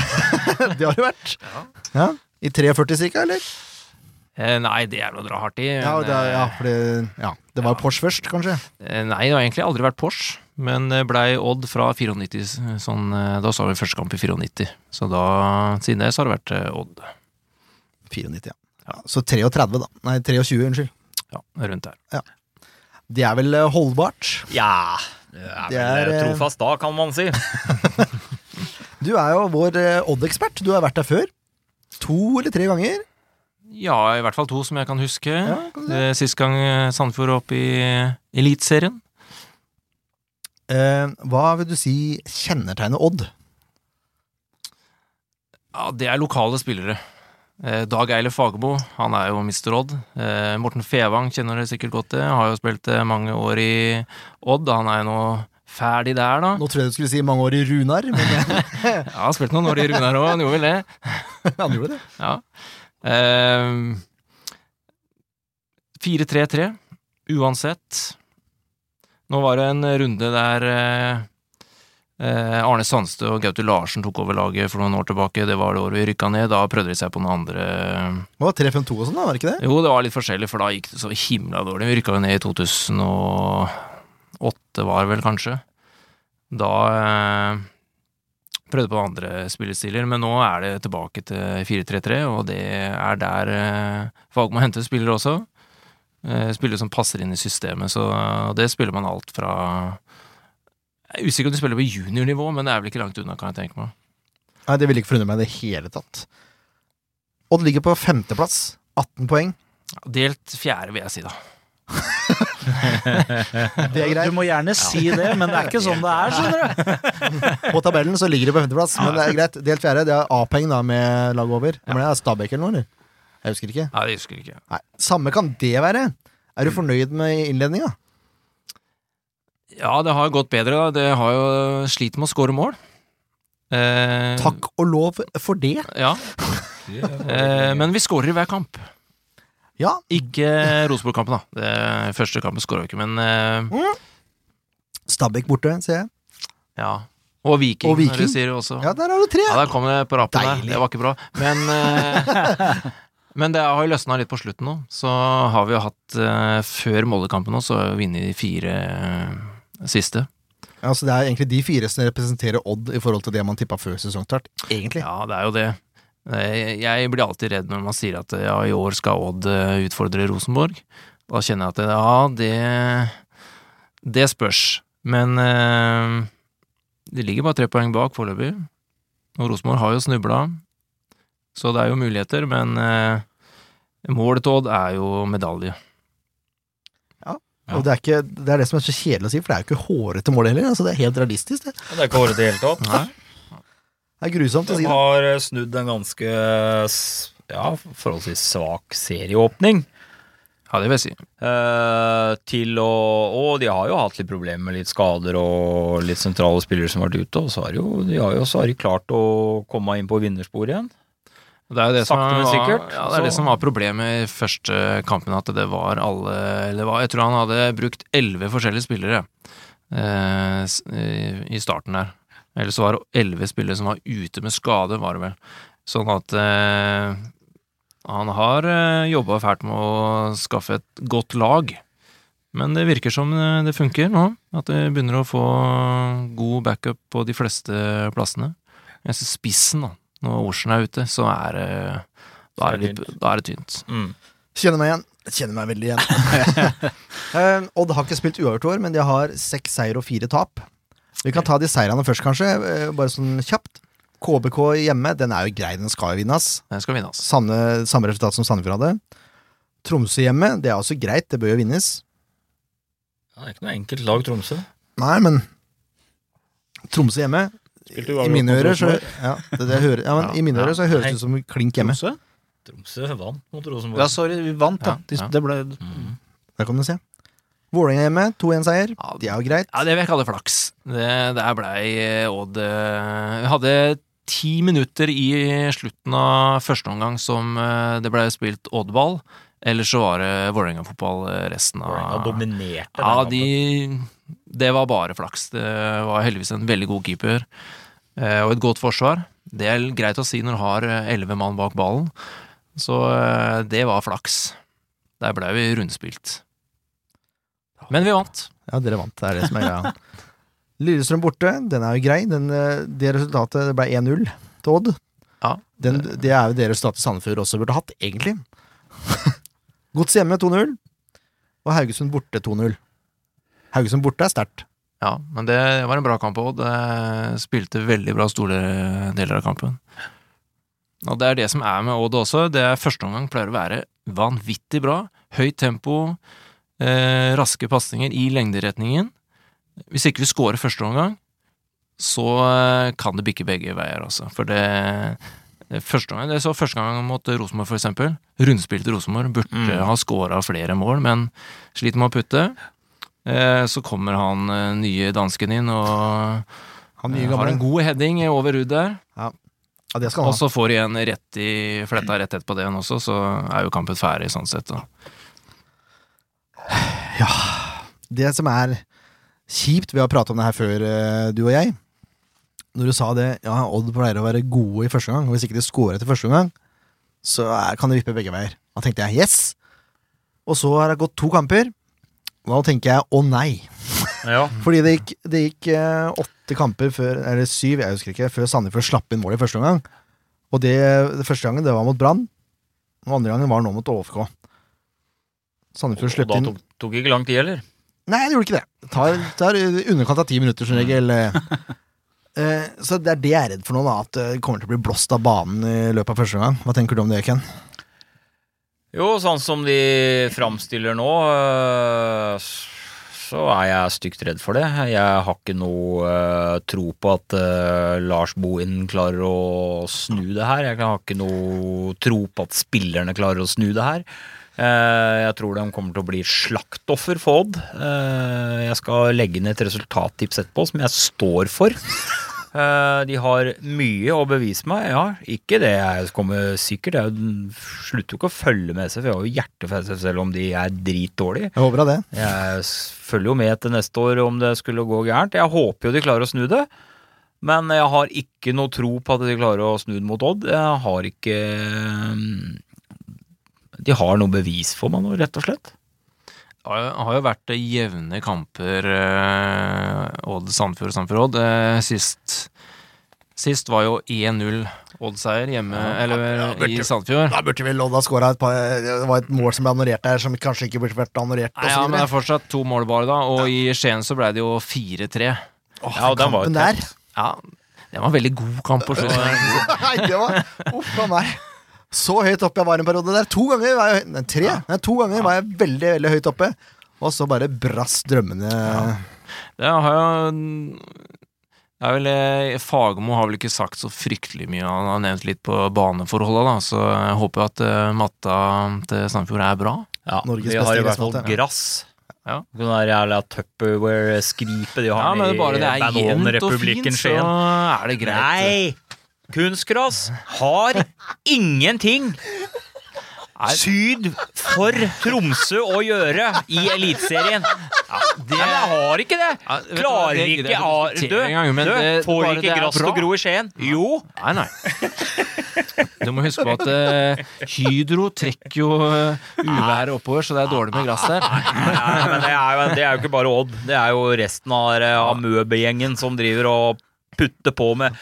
Speaker 1: Det har du vært. Ja. I 43 cirka, eller?
Speaker 6: Eh, Nei, det er noe å dra hardt i. men,
Speaker 1: Ja, det, er- ja,
Speaker 6: eh,
Speaker 1: for det, ja. det var Porsche først, kanskje.
Speaker 6: Eh, Nei, det har egentlig aldri vært Porsche, men eh, blei Odd fra 94. Sånn, eh, da sa vi første kamp i 94, så da, siden det så har det vært eh, Odd.
Speaker 1: 94, ja. ja. Så 33, da. Nei, 23, unnskyld.
Speaker 6: Ja, rundt der.
Speaker 1: Det er vel eh, holdbart.
Speaker 5: Ja, det er,
Speaker 1: Det
Speaker 5: vel
Speaker 1: er, eh,
Speaker 5: trofast da, kan man si.
Speaker 1: Du er jo vår eh, Odd-ekspert. Du har vært der før. To eller tre ganger.
Speaker 6: Ja, i hvert fall to som jeg kan huske.
Speaker 1: kan
Speaker 6: Eh, Sist gang eh, Sandefjord var oppe i eh, Eliteserien.
Speaker 1: Eh, hva vil du si kjennetegner Odd?
Speaker 6: Ja, det er lokale spillere. Eh, Dag Eilef Fagermo, han er jo Mr. Odd. Eh, Morten Fevang kjenner dere sikkert godt til. Har jo spilt eh, mange år i Odd. Han er jo nå ferdig der, da.
Speaker 1: Nå tror jeg du skulle si mange år i Runar, men
Speaker 6: Ja, han har spilt noen år i Runar òg, han gjorde vel det.
Speaker 1: han gjorde det.
Speaker 6: Ja. Eh, 4-3-3, uansett. Nå var det en runde der eh, eh, Arne Sandstø og Gaute Larsen tok over laget for noen år tilbake. Det var det året vi rykka ned. Da prøvde de seg på noen andre
Speaker 1: Det var 3-5-2 og sånn, da, var det ikke det?
Speaker 6: Jo, det var litt forskjellig, for da gikk det så himla dårlig. Vi rykka jo ned i 2008, var det vel kanskje. Da eh, prøvde på andre spillestiler, men nå er det tilbake til 4-3-3, og det er der eh, Fagmo henter spillere også. Eh, spillere som passer inn i systemet, så det spiller man alt fra jeg er usikker om de spiller på juniornivå, men det er vel ikke langt unna, kan jeg tenke meg.
Speaker 1: Nei, Det ville ikke forundre meg i det hele tatt. Odd ligger på femteplass. 18 poeng.
Speaker 6: Delt fjerde, vil jeg si, da.
Speaker 1: Det er
Speaker 3: Du
Speaker 1: greit.
Speaker 3: må gjerne si det, men det er ikke sånn det er, skjønner du.
Speaker 1: På tabellen så ligger de på femteplass, men det er greit. Delt fjerde, det er A-poeng da med laget over. Hva mener jeg, Stabæk eller noe, eller? Jeg husker ikke.
Speaker 6: Nei, det husker jeg ikke.
Speaker 1: Nei, Samme kan det være. Er du fornøyd med innledninga?
Speaker 6: Ja, det har gått bedre. da. Det har jo slitt med å score mål. Eh,
Speaker 1: Takk og lov for det.
Speaker 6: Ja. Eh, men vi scorer i hver kamp.
Speaker 1: Ja,
Speaker 6: Ikke Rosenborg-kampen, da. Det første kampen scorer vi ikke, men eh,
Speaker 1: Stabæk borte, ser jeg.
Speaker 6: ja. Og Viking,
Speaker 1: Og Viking.
Speaker 6: når du sier det også.
Speaker 1: Ja, der har du tre!
Speaker 6: Ja, der kom det på rapen der.
Speaker 1: Deilig.
Speaker 6: Det var ikke bra. Men, eh, men det har jo løsna litt på slutten nå. Så har vi jo hatt eh, Før Molde-kampen nå, så har vi vunnet de fire eh, siste.
Speaker 1: Ja, så Altså, Det er egentlig de fire som representerer Odd i forhold til det man tippa før sesongstart. Egentlig.
Speaker 6: Ja, det er jo det. Eh, Jeg blir alltid redd når man sier at eh, ja, i år skal Odd eh, utfordre Rosenborg. Da kjenner jeg at eh, ja, det Det spørs. Men eh, det ligger bare tre poeng bak foreløpig. Og Rosenborg har jo snubla, så det er jo muligheter, men eh, målet til Odd er jo medalje.
Speaker 1: Og det er, ikke, det er det som er så kjedelig å si, for det er jo ikke hårete mål heller. Altså, det er helt realistisk, det.
Speaker 5: Det er ikke håret i det hele tatt.
Speaker 6: Nei.
Speaker 1: Det er grusomt å si
Speaker 5: De
Speaker 1: det.
Speaker 5: har eh, snudd en ganske s- ja, forholdsvis svak serieåpning.
Speaker 6: Ja, det vil jeg si.
Speaker 5: eh, til å Og de har jo hatt litt problemer med litt skader og litt sentrale spillere som har vært ute, og så har jo, de har jo så har de klart å komme inn på vinnersporet igjen.
Speaker 6: Og Det er jo det
Speaker 5: Sakte,
Speaker 6: som
Speaker 5: men
Speaker 6: var,
Speaker 5: sikkert,
Speaker 6: Ja, det er det
Speaker 5: så-
Speaker 6: som var problemet i første kampen, at det var alle eller det var, Jeg tror han hadde brukt elleve forskjellige spillere eh, s- i i starten der. Eller så var det elleve spillere som var ute med skade, var det vel. Sånn at eh, han har eh, jobba fælt med å skaffe et godt lag. Men det virker som eh, det funker nå. At det begynner å få god backup på de fleste plassene. Jeg synes spissen, da. Når Olsen er ute, så er det da er det, litt, da er det tynt.
Speaker 5: Mm.
Speaker 1: Kjenner meg igjen. Kjenner meg veldig igjen. Eh, Odd har ikke spilt uavgjort i år, men de har seks seier og fire tap. Vi kan ta de seirene først, kanskje. eh, Bare sånn kjapt. KBK hjemme, den er jo grei, den skal jo vinnes.
Speaker 6: Den skal altså. vinnes.
Speaker 1: Samme, samme resultat som Sandefjord hadde. Tromsø hjemme, det er også greit, det bør jo vinnes.
Speaker 5: det er ikke noe enkelt lag, Tromsø.
Speaker 1: Nei, men Tromsø hjemme I mine ører så Ja, det, det jeg hører, ja, men
Speaker 6: Ja.
Speaker 1: i mine ører så høres
Speaker 5: Nei.
Speaker 1: det ut som klink hjemme.
Speaker 3: Tromsø?
Speaker 5: Tromsø vant mot
Speaker 3: Ja,
Speaker 5: Rosenborg.
Speaker 3: sorry, vi vant, da.
Speaker 6: Ja,
Speaker 3: De-
Speaker 6: ja.
Speaker 3: Det ble
Speaker 1: Der kan du se. Vålerenga hjemme, 2-1-seier.
Speaker 6: Ja,
Speaker 1: Det er jo greit.
Speaker 6: Ja, det vil jeg kalle flaks. Det, der blei eh, Odd eh, Hadde ti minutter i slutten av første omgang som eh, det ble spilt oddball. Eller så var det Vålerenga-fotball eh, resten
Speaker 3: Ah.
Speaker 5: Vålerenga
Speaker 6: av
Speaker 5: dominerte. den
Speaker 6: Ja,
Speaker 5: kampen.
Speaker 6: de Det var bare flaks. Det var heldigvis en veldig god keeper eh, og et godt forsvar. Det er greit å si når du har eh, elleve mann bak ballen. Så eh, det var flaks. Der ble vi rundspilt. Men vi vant.
Speaker 1: Ja, dere vant. Det er det som er greia. Lillestrøm borte, den er jo grei. Den, eh, det resultatet det ble 1-0 til Odd.
Speaker 6: Ja.
Speaker 1: Den, det er jo det resultatet Sandefjord også burde hatt, egentlig. Gods hjemme 2-0, og Haugesund borte 2-0. Haugesund borte er sterkt.
Speaker 6: Ja, men det var en bra kamp òg. Det spilte veldig bra store deler av kampen. Og det er det som er med Odd også. Det er første omgang pleier å være vanvittig bra. Høyt tempo, eh, raske pasninger i lengderetningen. Hvis ikke vi scorer første omgang, så eh, kan det bikke begge veier, altså. For det, det første omgang, det så første gang mot Rosenborg, for eksempel. Rundspilte Rosenborg. Burde
Speaker 3: Mm.
Speaker 6: ha scora flere mål, men sliter med å putte. Eh, Så kommer han eh, nye dansken inn og
Speaker 1: Han nye
Speaker 6: eh, har
Speaker 1: gamle.
Speaker 6: en god heading over Ruud der.
Speaker 1: Ja, det skal
Speaker 6: Og
Speaker 1: han ha.
Speaker 6: så får igjen rett i fletta rett etterpå det igjen også, så er jo kampen ferdig sånn sett. Da.
Speaker 1: Det som er kjipt, vi har pratet om det her før, eh, du og jeg. Når du sa det, ja, Odd pleier å være gode i første gang, og hvis ikke de scorer etter første gang, så er, kan det vippe begge veier. Da tenkte jeg yes! Og så har det gått to kamper. Da tenker jeg å nei.
Speaker 5: ja.
Speaker 1: Fordi det gikk, det gikk eh, åtte kamper før, eller syv, jeg husker ikke, før Sandefjord slapp inn mål i første omgang. Og det, det første gangen, det var mot Brann. Og andre gangen var nå mot OFK. Sandefjord
Speaker 5: Og
Speaker 1: slapp
Speaker 5: da
Speaker 1: inn
Speaker 5: tok, tok ikke lang tid heller.
Speaker 1: Nei, det gjorde ikke det. Det tar, tar i underkant av ti minutter som regel. Eh, Så det er det jeg er redd for nå, da, at det kommer til å bli blåst av banen i løpet av første gang. Hva tenker du om det, Ken?
Speaker 5: Jo, sånn som de framstiller nå, øh, så er jeg stygt redd for det. Jeg har ikke noe øh, tro på at øh, Lars Bohin klarer å snu det her. Jeg har ikke noe tro på at spillerne klarer å snu det her. Eh, Jeg tror de kommer til å bli slaktoffer for Odd. Eh, Jeg skal legge ned et resultattips etterpå som jeg står for. Eh, De har mye å bevise meg. Ja, ikke det jeg kommer sikkert. Jeg slutter jo ikke å følge med SF. Jeg har jo hjerte for SF selv om de er dritdårlige.
Speaker 1: Jeg håper av det.
Speaker 5: Jeg s- følger jo med til neste år om det skulle gå gærent. Jeg håper jo de klarer å snu det. Men jeg har ikke noe tro på at de klarer å snu det mot Odd. Jeg har ikke mm, De har noe bevis for meg nå, rett og slett.
Speaker 6: Det har jo- har jo vært eh, jevne kamper, eh, Odd Sandfjord Sandfjord Odd. Eh, Sist, sist var jo 1-0 Odd-seier hjemme eller, i Sandfjord.
Speaker 1: Da burde vel Odd ha skåra et par eh, Det var et mål som ble annorert der, som kanskje ikke burde vært annorert. og
Speaker 6: Nei, ja,
Speaker 1: så
Speaker 6: men det
Speaker 1: videre.
Speaker 6: er fortsatt to mål bare, da. Og i Skien så ble det jo 4-3.
Speaker 1: Åh,
Speaker 5: Ja, og den var jo
Speaker 1: kampen der.
Speaker 6: Ja, det var en veldig god kamp på slutten.
Speaker 1: Nei, det var Uff a meg. Så høyt oppe jeg var en periode der. To ganger var jeg, nei, tre, nei, to ganger var jeg veldig veldig høyt oppe. Og så bare brast drømmene.
Speaker 6: Det har jo det er vel, eh, Fagermo har vel ikke sagt så fryktelig mye, han har nevnt litt på baneforholda, da, så jeg håper jo at eh, matta til Sandefjord er bra.
Speaker 5: Ja,
Speaker 1: Norges
Speaker 5: de
Speaker 1: beste
Speaker 5: har i hvert fall
Speaker 1: gressmatte.
Speaker 5: grass.
Speaker 6: Ja.
Speaker 5: Det der jævla Tupperware-skripet de har
Speaker 6: Ja, men
Speaker 5: nede
Speaker 6: bare
Speaker 5: i
Speaker 6: det er jevnt og
Speaker 5: Bananrepublikken
Speaker 6: fint, så
Speaker 5: Skien.
Speaker 6: er det greit.
Speaker 5: Nei! Kunstgras har ingenting syd for Tromsø å gjøre i Eliteserien.
Speaker 6: det-
Speaker 5: Nei, men jeg har ikke det!
Speaker 6: Ja, vet du hva,
Speaker 5: Klarer
Speaker 6: det gidder
Speaker 5: ikke
Speaker 6: jeg ikke
Speaker 5: Ar-
Speaker 6: diskutere
Speaker 5: Du,
Speaker 6: engang, men
Speaker 5: du
Speaker 6: det-
Speaker 5: får
Speaker 6: bare det
Speaker 5: ikke
Speaker 6: er
Speaker 5: gress til
Speaker 6: bra.
Speaker 5: å gro i Skien. Jo!
Speaker 6: Nei, nei. Du må huske på at eh, Hydro trekker jo eh,
Speaker 3: Ah.
Speaker 6: uværet oppover, så det er dårlig med gress der.
Speaker 5: Nei, men det er, jo, det er jo ikke bare Odd. Det er jo resten av, eh, av Møbegjengen som driver og putter på med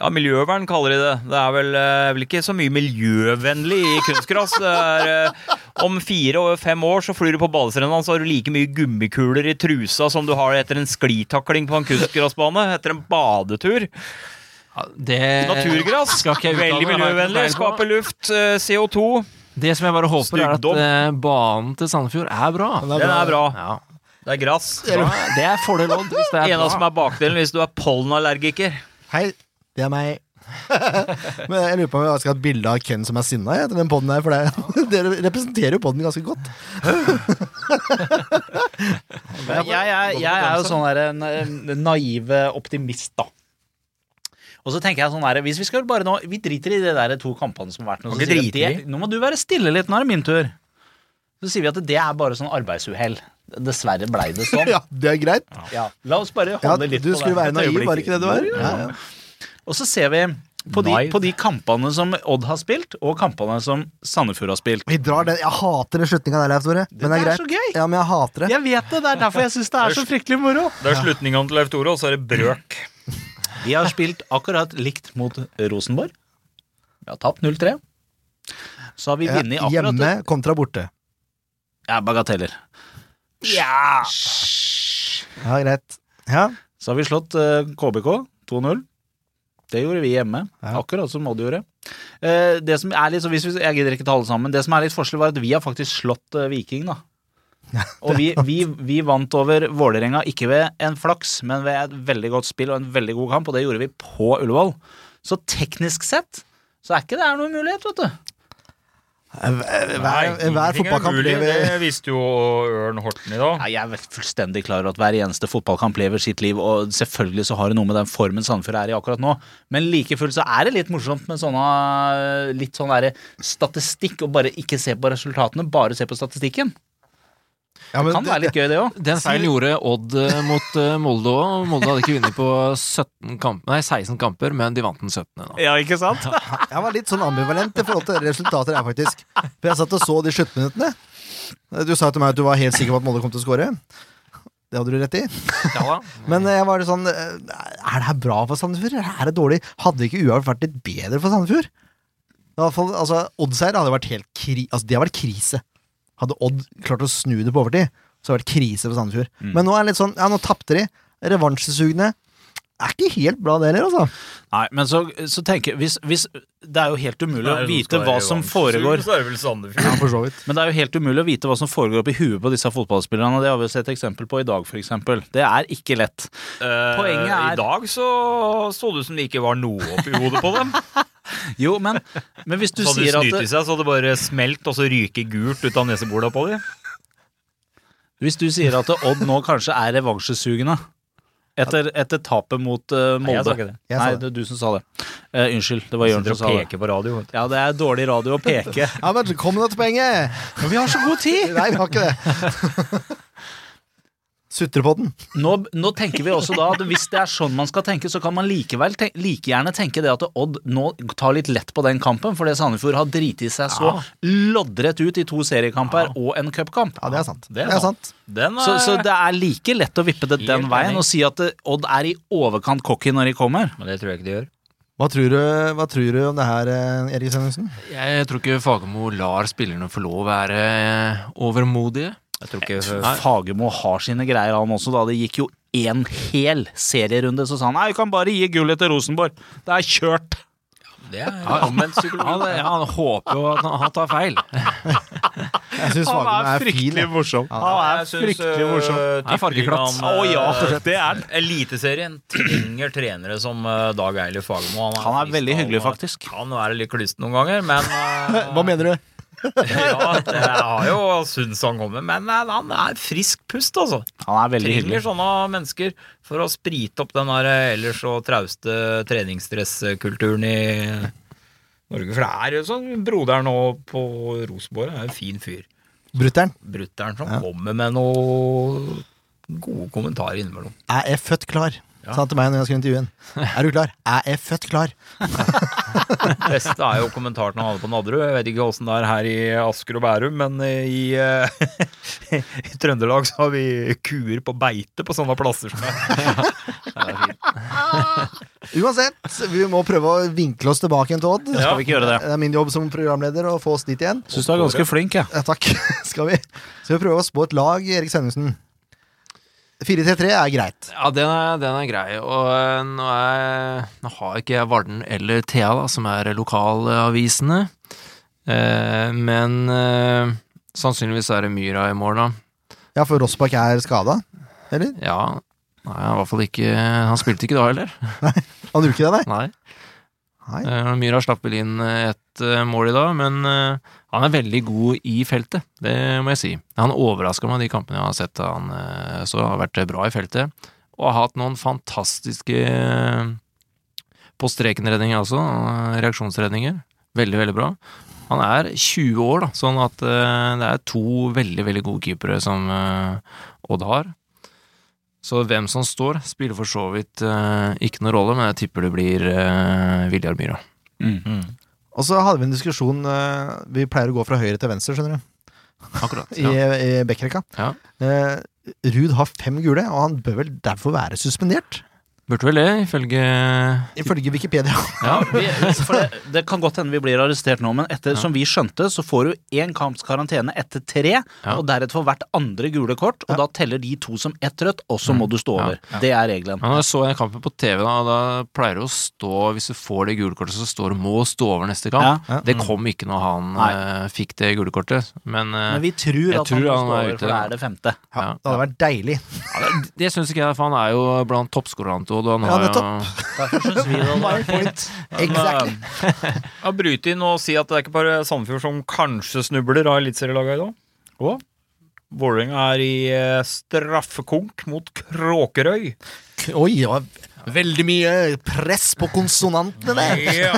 Speaker 5: ja, Miljøvern kaller de det. Det er vel, eh, vel ikke så mye miljøvennlig i kunstgras. Det er, eh, om fire og fem år så flyr du på badestrendene, så har du like mye gummikuler i trusa som du har etter en sklitakling på en kunstgrasbane etter en badetur.
Speaker 6: Ja, det
Speaker 5: Naturgress.
Speaker 6: skal ikke jeg uttale
Speaker 5: Veldig
Speaker 6: meg, jeg har ikke noe
Speaker 5: miljøvennlig.
Speaker 6: peil på.
Speaker 5: Skaper luft. eh, CO2.
Speaker 6: Det som jeg bare håper, er at
Speaker 5: Styggdom.
Speaker 6: eh, banen til Sandefjord er bra.
Speaker 5: Den er bra.
Speaker 6: Ja.
Speaker 5: Det er gress.
Speaker 6: Bra. Det er fordel Odd, hvis det er
Speaker 5: En av
Speaker 6: bra.
Speaker 5: som er bakdelen hvis du er pollenallergiker.
Speaker 1: Hei, det er meg. Men jeg lurer på om jeg skal ha et bilde av Ken som er sinna jeg, etter den podden her, for det, dere representerer jo podden ganske godt.
Speaker 3: Jeg, er- jeg er jo sånn der en, en naive optimist, da. Og Og så tenker jeg sånn der, hvis Vi skal bare nå, vi driter i de der to kampene som har vært nå.
Speaker 5: Kan
Speaker 3: Så
Speaker 5: ikke
Speaker 3: sier vi
Speaker 5: drite i.
Speaker 3: at det, nå må du være stille litt, nå er det min tur. Så sier vi at det er bare sånn arbeidsuhell. Dessverre blei det sånn.
Speaker 1: Ja, det er greit.
Speaker 3: Ja, La oss bare
Speaker 1: Ja,
Speaker 3: holde litt
Speaker 1: du
Speaker 3: på
Speaker 1: skulle
Speaker 3: det
Speaker 1: være
Speaker 3: et
Speaker 1: naiv,
Speaker 3: øyeblikk.
Speaker 1: var det ikke det du var?
Speaker 3: Jo, jo.
Speaker 1: Ja, ja.
Speaker 3: Og så ser vi på de,
Speaker 5: Naiv.
Speaker 3: på de kampene som Odd har spilt, og kampene som Sandefjord har spilt.
Speaker 1: Vi drar den. Jeg hater den slutninga der, Leif Tore. Men det er
Speaker 3: er
Speaker 1: greit.
Speaker 3: så gøy.
Speaker 1: Ja, men jeg hater det.
Speaker 3: Jeg vet det, det er derfor jeg syns det er så fryktelig moro.
Speaker 5: Det er slutningene til Leif Tore, og så er det brøk.
Speaker 3: Vi har spilt akkurat likt mot Rosenborg. Vi har tapt 0-3. Så har vi
Speaker 1: Ja,
Speaker 3: vunnet akkurat
Speaker 1: Hjemme kontra borte.
Speaker 3: Ja, bagateller.
Speaker 1: Ja, greit. Ja.
Speaker 3: Så har vi slått eh, KBK 2-0. Det gjorde vi hjemme,
Speaker 1: Ja.
Speaker 3: akkurat som Odd gjorde. Eh, det som er litt, så hvis vi, jeg gidder ikke ta alle sammen. Det som er litt forskjell, var at vi har faktisk slått eh, Viking, da. Og vi, vi, vi vant over Vålerenga, ikke ved en flaks, men ved et veldig godt spill og en veldig god kamp, og det gjorde vi på Ullevål. Så teknisk sett så er ikke det her noen mulighet, vet du.
Speaker 1: Hver, hver
Speaker 5: ingenting er
Speaker 1: fotballkamp
Speaker 5: mulig.
Speaker 1: lever
Speaker 5: Det visste jo Ørn Horten i dag.
Speaker 3: Nei, jeg er fullstendig klar over at hver eneste fotballkamp lever sitt liv, og selvfølgelig så har det noe med den formen Sandefjord er i akkurat nå, men like fullt så er det litt morsomt med sånne øh, litt sånn derre statistikk, og bare ikke se på resultatene, bare se på statistikken.
Speaker 1: ja, men
Speaker 3: Kan være litt gøy, det òg.
Speaker 6: Den feilen gjorde Odd eh, mot eh, Molde òg. Molde hadde ikke vunnet på 17 kamp, nei, 16 kamper, men de vant den 17. Da.
Speaker 3: Ja, ikke sant?
Speaker 1: Jeg var litt sånn ambivalent i forhold til resultater her, faktisk. For jeg satt og så de sluttminuttene. Du sa til meg at du var helt sikker på at Molde kom til å skåre. Det hadde du rett i.
Speaker 6: Ja,
Speaker 1: Men jeg var litt sånn eh, Er det her bra for Sandefjord, eller er det dårlig? Hadde ikke uavgjort vært litt bedre for Sandefjord? I hvert fall, altså, Oddseier hadde vært helt kri... Altså, det hadde vært krise. Hadde Odd klart å snu det på overtid, så hadde det vært krise for Sandefjord.
Speaker 3: Mm.
Speaker 1: Men nå er det litt sånn Ja, nå tapte de. Revansjesugne. Er ikke helt bra, det heller, altså.
Speaker 3: Nei, men så, så tenker jeg hvis, hvis Det er jo helt umulig
Speaker 5: Nei,
Speaker 3: å
Speaker 5: nå
Speaker 3: vite
Speaker 5: skal
Speaker 3: hva
Speaker 5: jeg i
Speaker 3: som
Speaker 5: vann.
Speaker 3: foregår
Speaker 5: Så er det vel Sandefjord.
Speaker 1: for så vidt.
Speaker 3: Men det er jo helt umulig å vite hva som foregår oppi huet på disse fotballspillerne, og det har vi jo sett eksempel på i dag, for eksempel. Det er ikke lett. Poenget er-
Speaker 5: Eh, I dag så så det ut som det ikke var noe oppi hodet på dem.
Speaker 3: Jo, men, men hvis du
Speaker 5: så hadde de
Speaker 3: sier at
Speaker 5: snytt i seg, så hadde det bare smelt, og så ryker gult ut av neseborda på dem.
Speaker 3: Hvis du sier at Odd nå kanskje er revansjesugende etter, etter tapet mot eh,
Speaker 5: Nei, jeg sa
Speaker 3: Molde
Speaker 5: ikke det.
Speaker 1: Jeg sa
Speaker 3: Nei,
Speaker 1: det.
Speaker 3: det er du som sa det. Eh, unnskyld, det var Jørn som
Speaker 5: Sitter og
Speaker 3: sa det.
Speaker 5: peker på radio. vet du.
Speaker 3: Ja, det er dårlig radio å peke.
Speaker 1: Ja, men kom nå til poenget!
Speaker 3: Men vi har så god tid!
Speaker 1: Nei, vi har ikke det. Sutrepodden.
Speaker 3: Nå, nå tenker vi også da at hvis det er sånn man skal tenke, så kan man likevel ten like gjerne tenke det at Odd nå tar litt lett på den kampen, fordi Sandefjord har driti seg så loddrett ut i to seriekamper og en cupkamp.
Speaker 1: Ja, det er sant.
Speaker 5: Det er
Speaker 1: sant.
Speaker 5: Den er,
Speaker 3: Så, så det er like lett å vippe det den
Speaker 5: Helt
Speaker 3: veien
Speaker 5: enig.
Speaker 3: og si at eh, Odd er i overkant cocky når de kommer.
Speaker 5: Men det tror jeg ikke de gjør.
Speaker 1: Hva tror, du, hva tror du om det her, eh, Erik Sennesen?
Speaker 6: Jeg tror ikke Fagermo lar spillerne få lov å være eh, overmodige.
Speaker 5: Jeg tror ikke
Speaker 3: Eh, Fagermo har sine greier, han også. da Det gikk jo en hel serierunde, så sa han nei, vi kan bare gi gullet til Rosenborg. Det er kjørt.
Speaker 5: det er
Speaker 6: Anvendt psykologi. Han, ja, han håper jo at han, han tar feil.
Speaker 1: Jeg syns Fagermo er fin. jeg.
Speaker 3: morsom. Han er fryktelig morsom.
Speaker 6: Nei, fargeklatt.
Speaker 3: Å ja, det er han.
Speaker 5: Eliteserien trenger trenere som eh, Dag Eilif Fagermo.
Speaker 3: Han er veldig
Speaker 5: frista,
Speaker 3: hyggelig,
Speaker 5: han er-
Speaker 3: faktisk.
Speaker 5: Kan være litt klusten noen ganger, men eh,
Speaker 1: Hva mener du?
Speaker 5: ja, jeg har jo syntes han kommer, men eh, han er frisk pust, altså.
Speaker 3: Han er veldig
Speaker 5: Trenger
Speaker 3: hyggelig.
Speaker 5: sånne mennesker for å sprite opp den der eh, ellers så trauste treningsstresskulturen i Norge. For det er jo sånn broderen nå på Rosenborg er en fin fyr.
Speaker 1: Brutter'n.
Speaker 5: Brutter'n som kommer med noe gode kommentarer innimellom.
Speaker 1: Er jeg født klar? Sa han til meg når jeg skulle intervjue ham. Er du klar? Er jeg født klar?
Speaker 5: Det beste er jo kommentaren han hadde på Nadderud. Jeg vet ikke åssen det er her i Asker og Bærum, men i, eh, i Trøndelag så har vi kuer på beite på sånne plasser som er
Speaker 1: Uansett, vi må prøve å vinkle oss tilbake igjen til Odd.
Speaker 3: Skal vi ikke gjøre det?
Speaker 1: Det er min jobb som programleder å få oss dit igjen.
Speaker 3: Syns du er ganske flink, jeg.
Speaker 1: Ja, takk. Skal vi Skal vi prøve å spå et lag, Erik Sennesen? 4-3-3 er greit.
Speaker 6: Ja, den er, den er grei. Og eh, nå, er, nå har ikke jeg Varden eller Thea, da, som er lokalavisene. Eh, men eh, sannsynligvis er det Myra i morgen, da.
Speaker 1: Ja, for Rossbakk er skada? Eller?
Speaker 6: Ja, nei, han er i hvert fall ikke Han spilte ikke da heller.
Speaker 1: Han gjorde ikke det, nei?
Speaker 6: Nei.
Speaker 1: Nei.
Speaker 6: Eh, Myra slapp vel inn eh, ett eh, mål i dag, men eh, han er veldig god i feltet, det må jeg si. Han overraska meg de kampene jeg har sett han eh, så har vært bra i feltet, og har hatt noen fantastiske eh, På streken-redninger også. eh, Reaksjonsredninger. Veldig, veldig bra. Han er 20 år, da, sånn at eh, det er to veldig, veldig gode keepere som eh, Odd har. Så hvem som står, spiller for så vidt eh, ikke noen rolle, men jeg tipper det blir eh, Viljar Myhra.
Speaker 1: Og så hadde vi en diskusjon eh, Vi pleier å gå fra høyre til venstre, skjønner du.
Speaker 6: Akkurat.
Speaker 1: I, i backrekka.
Speaker 6: Ja.
Speaker 1: Eh, Ruud har fem gule, og han bør vel derfor være suspendert?
Speaker 6: Burde vel det, ifølge
Speaker 1: Ifølge Wikipedia.
Speaker 6: Ja,
Speaker 3: Vi, for det, det kan godt hende vi blir arrestert nå, men etter, som vi skjønte, så får du én kamps karantene etter tre, og deretter for hvert andre gule kort, og da teller de to som ett rødt, og så må du stå over. Det er regelen.
Speaker 6: Ja, når jeg så den kampen på TV, da, da pleier det å stå Hvis du får det gule kortet, så står det 'må stå over neste kamp'.
Speaker 1: Ja.
Speaker 6: Det kom ikke når han
Speaker 3: Nei.
Speaker 6: eh, fikk det gule kortet, men, eh,
Speaker 3: Men vi tror
Speaker 6: Jeg
Speaker 3: at han
Speaker 6: tror
Speaker 3: må stå
Speaker 6: han er
Speaker 3: over,
Speaker 6: ute.
Speaker 3: for det er det femte.
Speaker 1: Ja,
Speaker 6: Ja.
Speaker 1: det hadde vært deilig.
Speaker 6: det syns ikke jeg, for han er jo blant toppskårerne til Odd. og Han
Speaker 1: Ja,
Speaker 6: har jo
Speaker 1: nettopp.
Speaker 3: Derfor synes vi det
Speaker 1: My
Speaker 3: var
Speaker 1: point. Exactly.
Speaker 5: Jeg bryter inn og si at det er ikke bare Sandefjord som kanskje snubler av eliteserielaget i dag. Og Vålerenga er i eh, straffekonk mot Kråkerøy.
Speaker 1: Oi, det var veldig mye press på konsonantene der.
Speaker 5: Ja,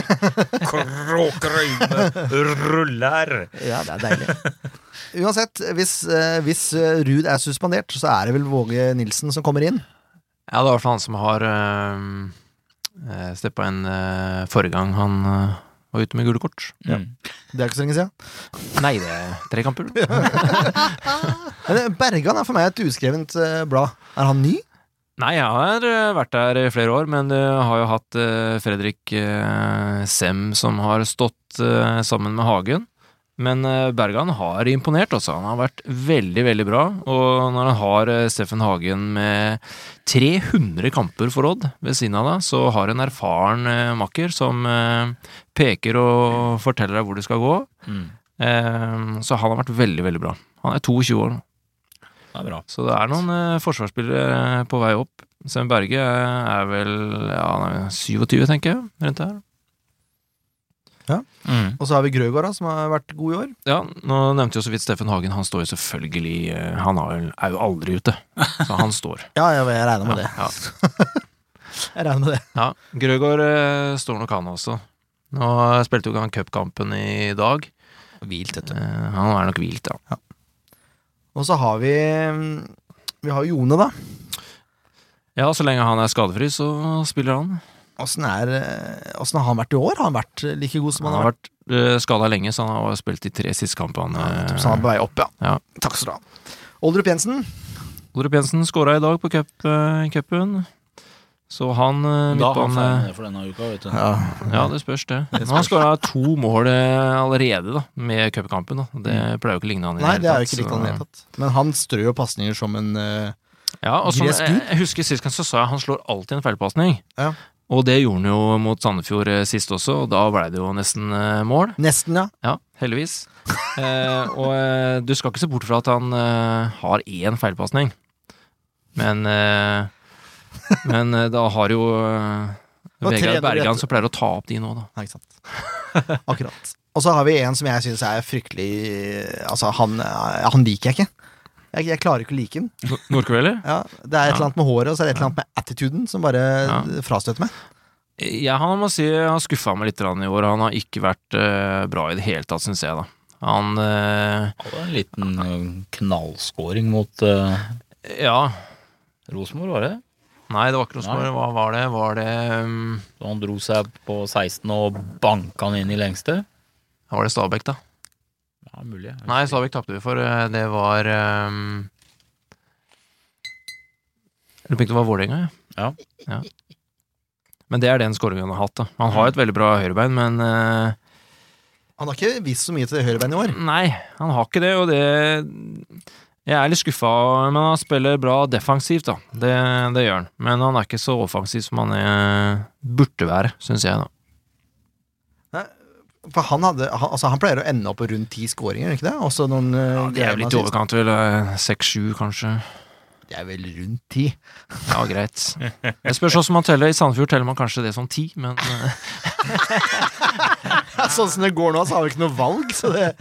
Speaker 5: Kråkerøy med rullær.
Speaker 1: Ja, det er deilig. Uansett, hvis, eh, hvis eh, Ruud er suspendert, så er det vel Våge Nilsen som kommer inn.
Speaker 6: Ja, det er i hvert fall han som har øh, steppa inn eh, forrige gang han eh, var ute med gule kort.
Speaker 3: Mm.
Speaker 1: Det er ikke så lenge siden.
Speaker 6: Nei, det er tre kamper.
Speaker 1: Men eh, Bergan er for meg et uskrevent eh, blad. Er han ny?
Speaker 6: Nei, jeg har eh, vært der i flere år, men du har jo hatt eh, Fredrik eh, Sem som har stått eh, sammen med Hagen. Men eh, Bergan har imponert, altså. Han har vært veldig, veldig bra. Og når han har eh, Steffen Hagen med 300 kamper for Odd ved siden av deg, så har en erfaren eh, makker som eh, peker og forteller deg hvor du skal gå. Eh, Så han har vært veldig, veldig bra. Han er 22 år nå.
Speaker 5: Det er bra.
Speaker 6: Så det er noen eh, forsvarsspillere eh, på vei opp. Sem Berge eh, er vel ja, han er 27, tenker jeg. Rundt der.
Speaker 1: Og så har vi Grøgaard, da, som har vært god i år.
Speaker 6: Ja, nå nevnte jo så vidt Steffen Hagen. Han står jo selvfølgelig eh, Han er jo, er jo aldri ute, så han står.
Speaker 1: Ja, jeg, jeg regner med det.
Speaker 6: Ja,
Speaker 1: Jeg regner med det.
Speaker 6: ja. Grøgaard eh, står nok, han også. Nå spilte jo ikke han cupkampen i dag.
Speaker 5: Hvilt,
Speaker 6: Eh, Han er nok hvilt, ja.
Speaker 1: Og så har vi mm, Vi har Jone, da.
Speaker 6: Ja, så lenge han er skadefri, så spiller han.
Speaker 1: Åssen er, eh, åssen har han vært i år? Har han vært eh, like god som
Speaker 6: Han
Speaker 1: han har vært?
Speaker 6: har vært eh, skada lenge, så han har spilt de tre siste kampene.
Speaker 1: Eh, Så han er på vei opp, ja.
Speaker 6: Ja.
Speaker 1: Takk skal du ha. Oldrup Jensen.
Speaker 6: Orup Jensen skåra i dag på cup- eh, cupen. Så han eh,
Speaker 3: Da har han
Speaker 6: midtbane...
Speaker 3: ferdig for denne uka, vet du.
Speaker 6: Ja, det spørs, det. Men han skåra to mål eh, allerede da, med cupkampen. da. Det pleier jo ikke å ligne han i
Speaker 1: Mm. Nei,
Speaker 6: hele
Speaker 1: det er jo
Speaker 6: tatt,
Speaker 1: ikke likt han i det
Speaker 6: så-
Speaker 1: hele tatt. Men han strør jo pasninger som en eh,
Speaker 6: Ja, og sånn,
Speaker 1: Gresk
Speaker 6: jeg,
Speaker 1: gud.
Speaker 6: jeg husker Sist gang så sa jeg han slår alltid en feilpasning.
Speaker 1: Ja.
Speaker 6: Og det gjorde han jo mot Sandefjord eh, sist også, og da blei det jo nesten eh, mål.
Speaker 1: Nesten, ja.
Speaker 6: Ja, heldigvis. Eh, og eh, du skal ikke se bort fra at han eh, har én feilpasning. Men eh, Men eh, da har jo eh,
Speaker 1: Det var
Speaker 6: Vegard
Speaker 1: 300 rett.
Speaker 6: Bergan som pleier å ta opp de nå, da.
Speaker 1: Nei, ikke sant. Akkurat. Og så har vi en som jeg syns er fryktelig Altså, han, eh, han liker jeg ikke. Jeg, jeg klarer ikke å like den.
Speaker 6: Nordkvelder?
Speaker 1: Ja, det er et eller annet med håret og så er det et eller annet med attituden som bare
Speaker 6: Ja.
Speaker 1: eh, frastøter meg.
Speaker 6: Ja, han må si han skuffa meg litt grann i år. Han har ikke vært eh, bra i det hele tatt, syns jeg, da. Han eh,
Speaker 4: Det var en liten eh, knallskåring mot uh,
Speaker 3: eh,
Speaker 6: Ja.
Speaker 4: Rosenborg, var det?
Speaker 6: Nei, det var ikke Rosenborg. Hva var det? Var det, um,
Speaker 4: Så han dro seg på 16 og banka han inn i lengste.
Speaker 6: var det Stabæk, da?
Speaker 4: Ja, mulig. Jeg
Speaker 6: Nei,
Speaker 4: husker
Speaker 6: Stabæk tapte vi for. eh, Det var um, Jeg lurer på om det var Vålerenga,
Speaker 4: Ja.
Speaker 6: ja. Men det er den skåringen han har hatt. da Han har et veldig bra høyrebein, men eh,
Speaker 1: Han har ikke vist så mye til høyrebeinet i år.
Speaker 6: Nei, han har ikke det, og det Jeg er litt skuffa, men han spiller bra defensivt, da. Det, det gjør han. Men han er ikke så offensiv som han er, burde være, syns jeg, da.
Speaker 1: For han, hadde, han, altså, han pleier å ende opp på rundt ti skåringer, ikke det? Også noen eh,
Speaker 6: Ja, det er
Speaker 1: greier
Speaker 6: vel
Speaker 1: med
Speaker 6: litt i
Speaker 1: assist.
Speaker 6: overkant, vel. eh, Seks-sju, kanskje.
Speaker 1: Det er vel rundt ti.
Speaker 6: Ja, greit. Det spørs også om man teller. I Sandefjord teller man kanskje det som ti, men eh,
Speaker 1: Sånn som det går nå, så har vi ikke noe valg. Så det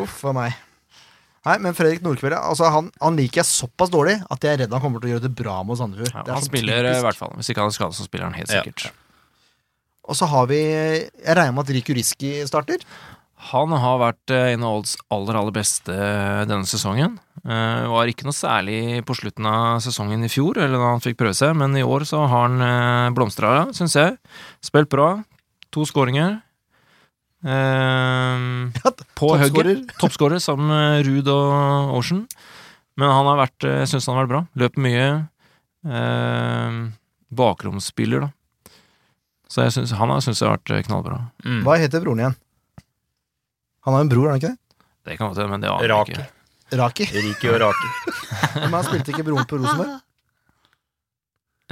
Speaker 1: Uff a meg. Nei, men Fredrik Nordkveld altså, han, han liker jeg såpass dårlig at jeg er redd han kommer til å gjøre det bra mot Sandefjord.
Speaker 6: ja,
Speaker 1: Det er
Speaker 6: han
Speaker 1: sånn
Speaker 6: spiller eh, i
Speaker 1: typisk.
Speaker 6: hvert fall. Hvis ikke han er skadet, så spiller han helt
Speaker 5: Ja.
Speaker 6: sikkert.
Speaker 1: Og så har vi Jeg regner med at Riku Riski starter.
Speaker 6: Han har vært eh, en av Olds aller, aller beste denne sesongen. eh, Var ikke noe særlig på slutten av sesongen i fjor, eller da han fikk prøve seg, men i år så har han eh, blomstra, syns jeg. Spilt bra. To skåringer. Eh, På
Speaker 1: toppskårer.
Speaker 6: hugget. Toppskårer sammen med Ruud og Ocean. Men han har vært, eh, jeg syns han har vært bra. Løper mye. Eh, Bakromsspiller, da. Så jeg synes, han har syns jeg har vært eh, knallbra.
Speaker 5: Mm.
Speaker 1: Hva heter broren igjen? Han har en bror, har han ikke det?
Speaker 6: Det kan godt hende, men det aner jeg
Speaker 5: Raki.
Speaker 6: ikke.
Speaker 1: Raki.
Speaker 5: Riki og Raki.
Speaker 1: Men han spilte ikke broren på Rosenborg?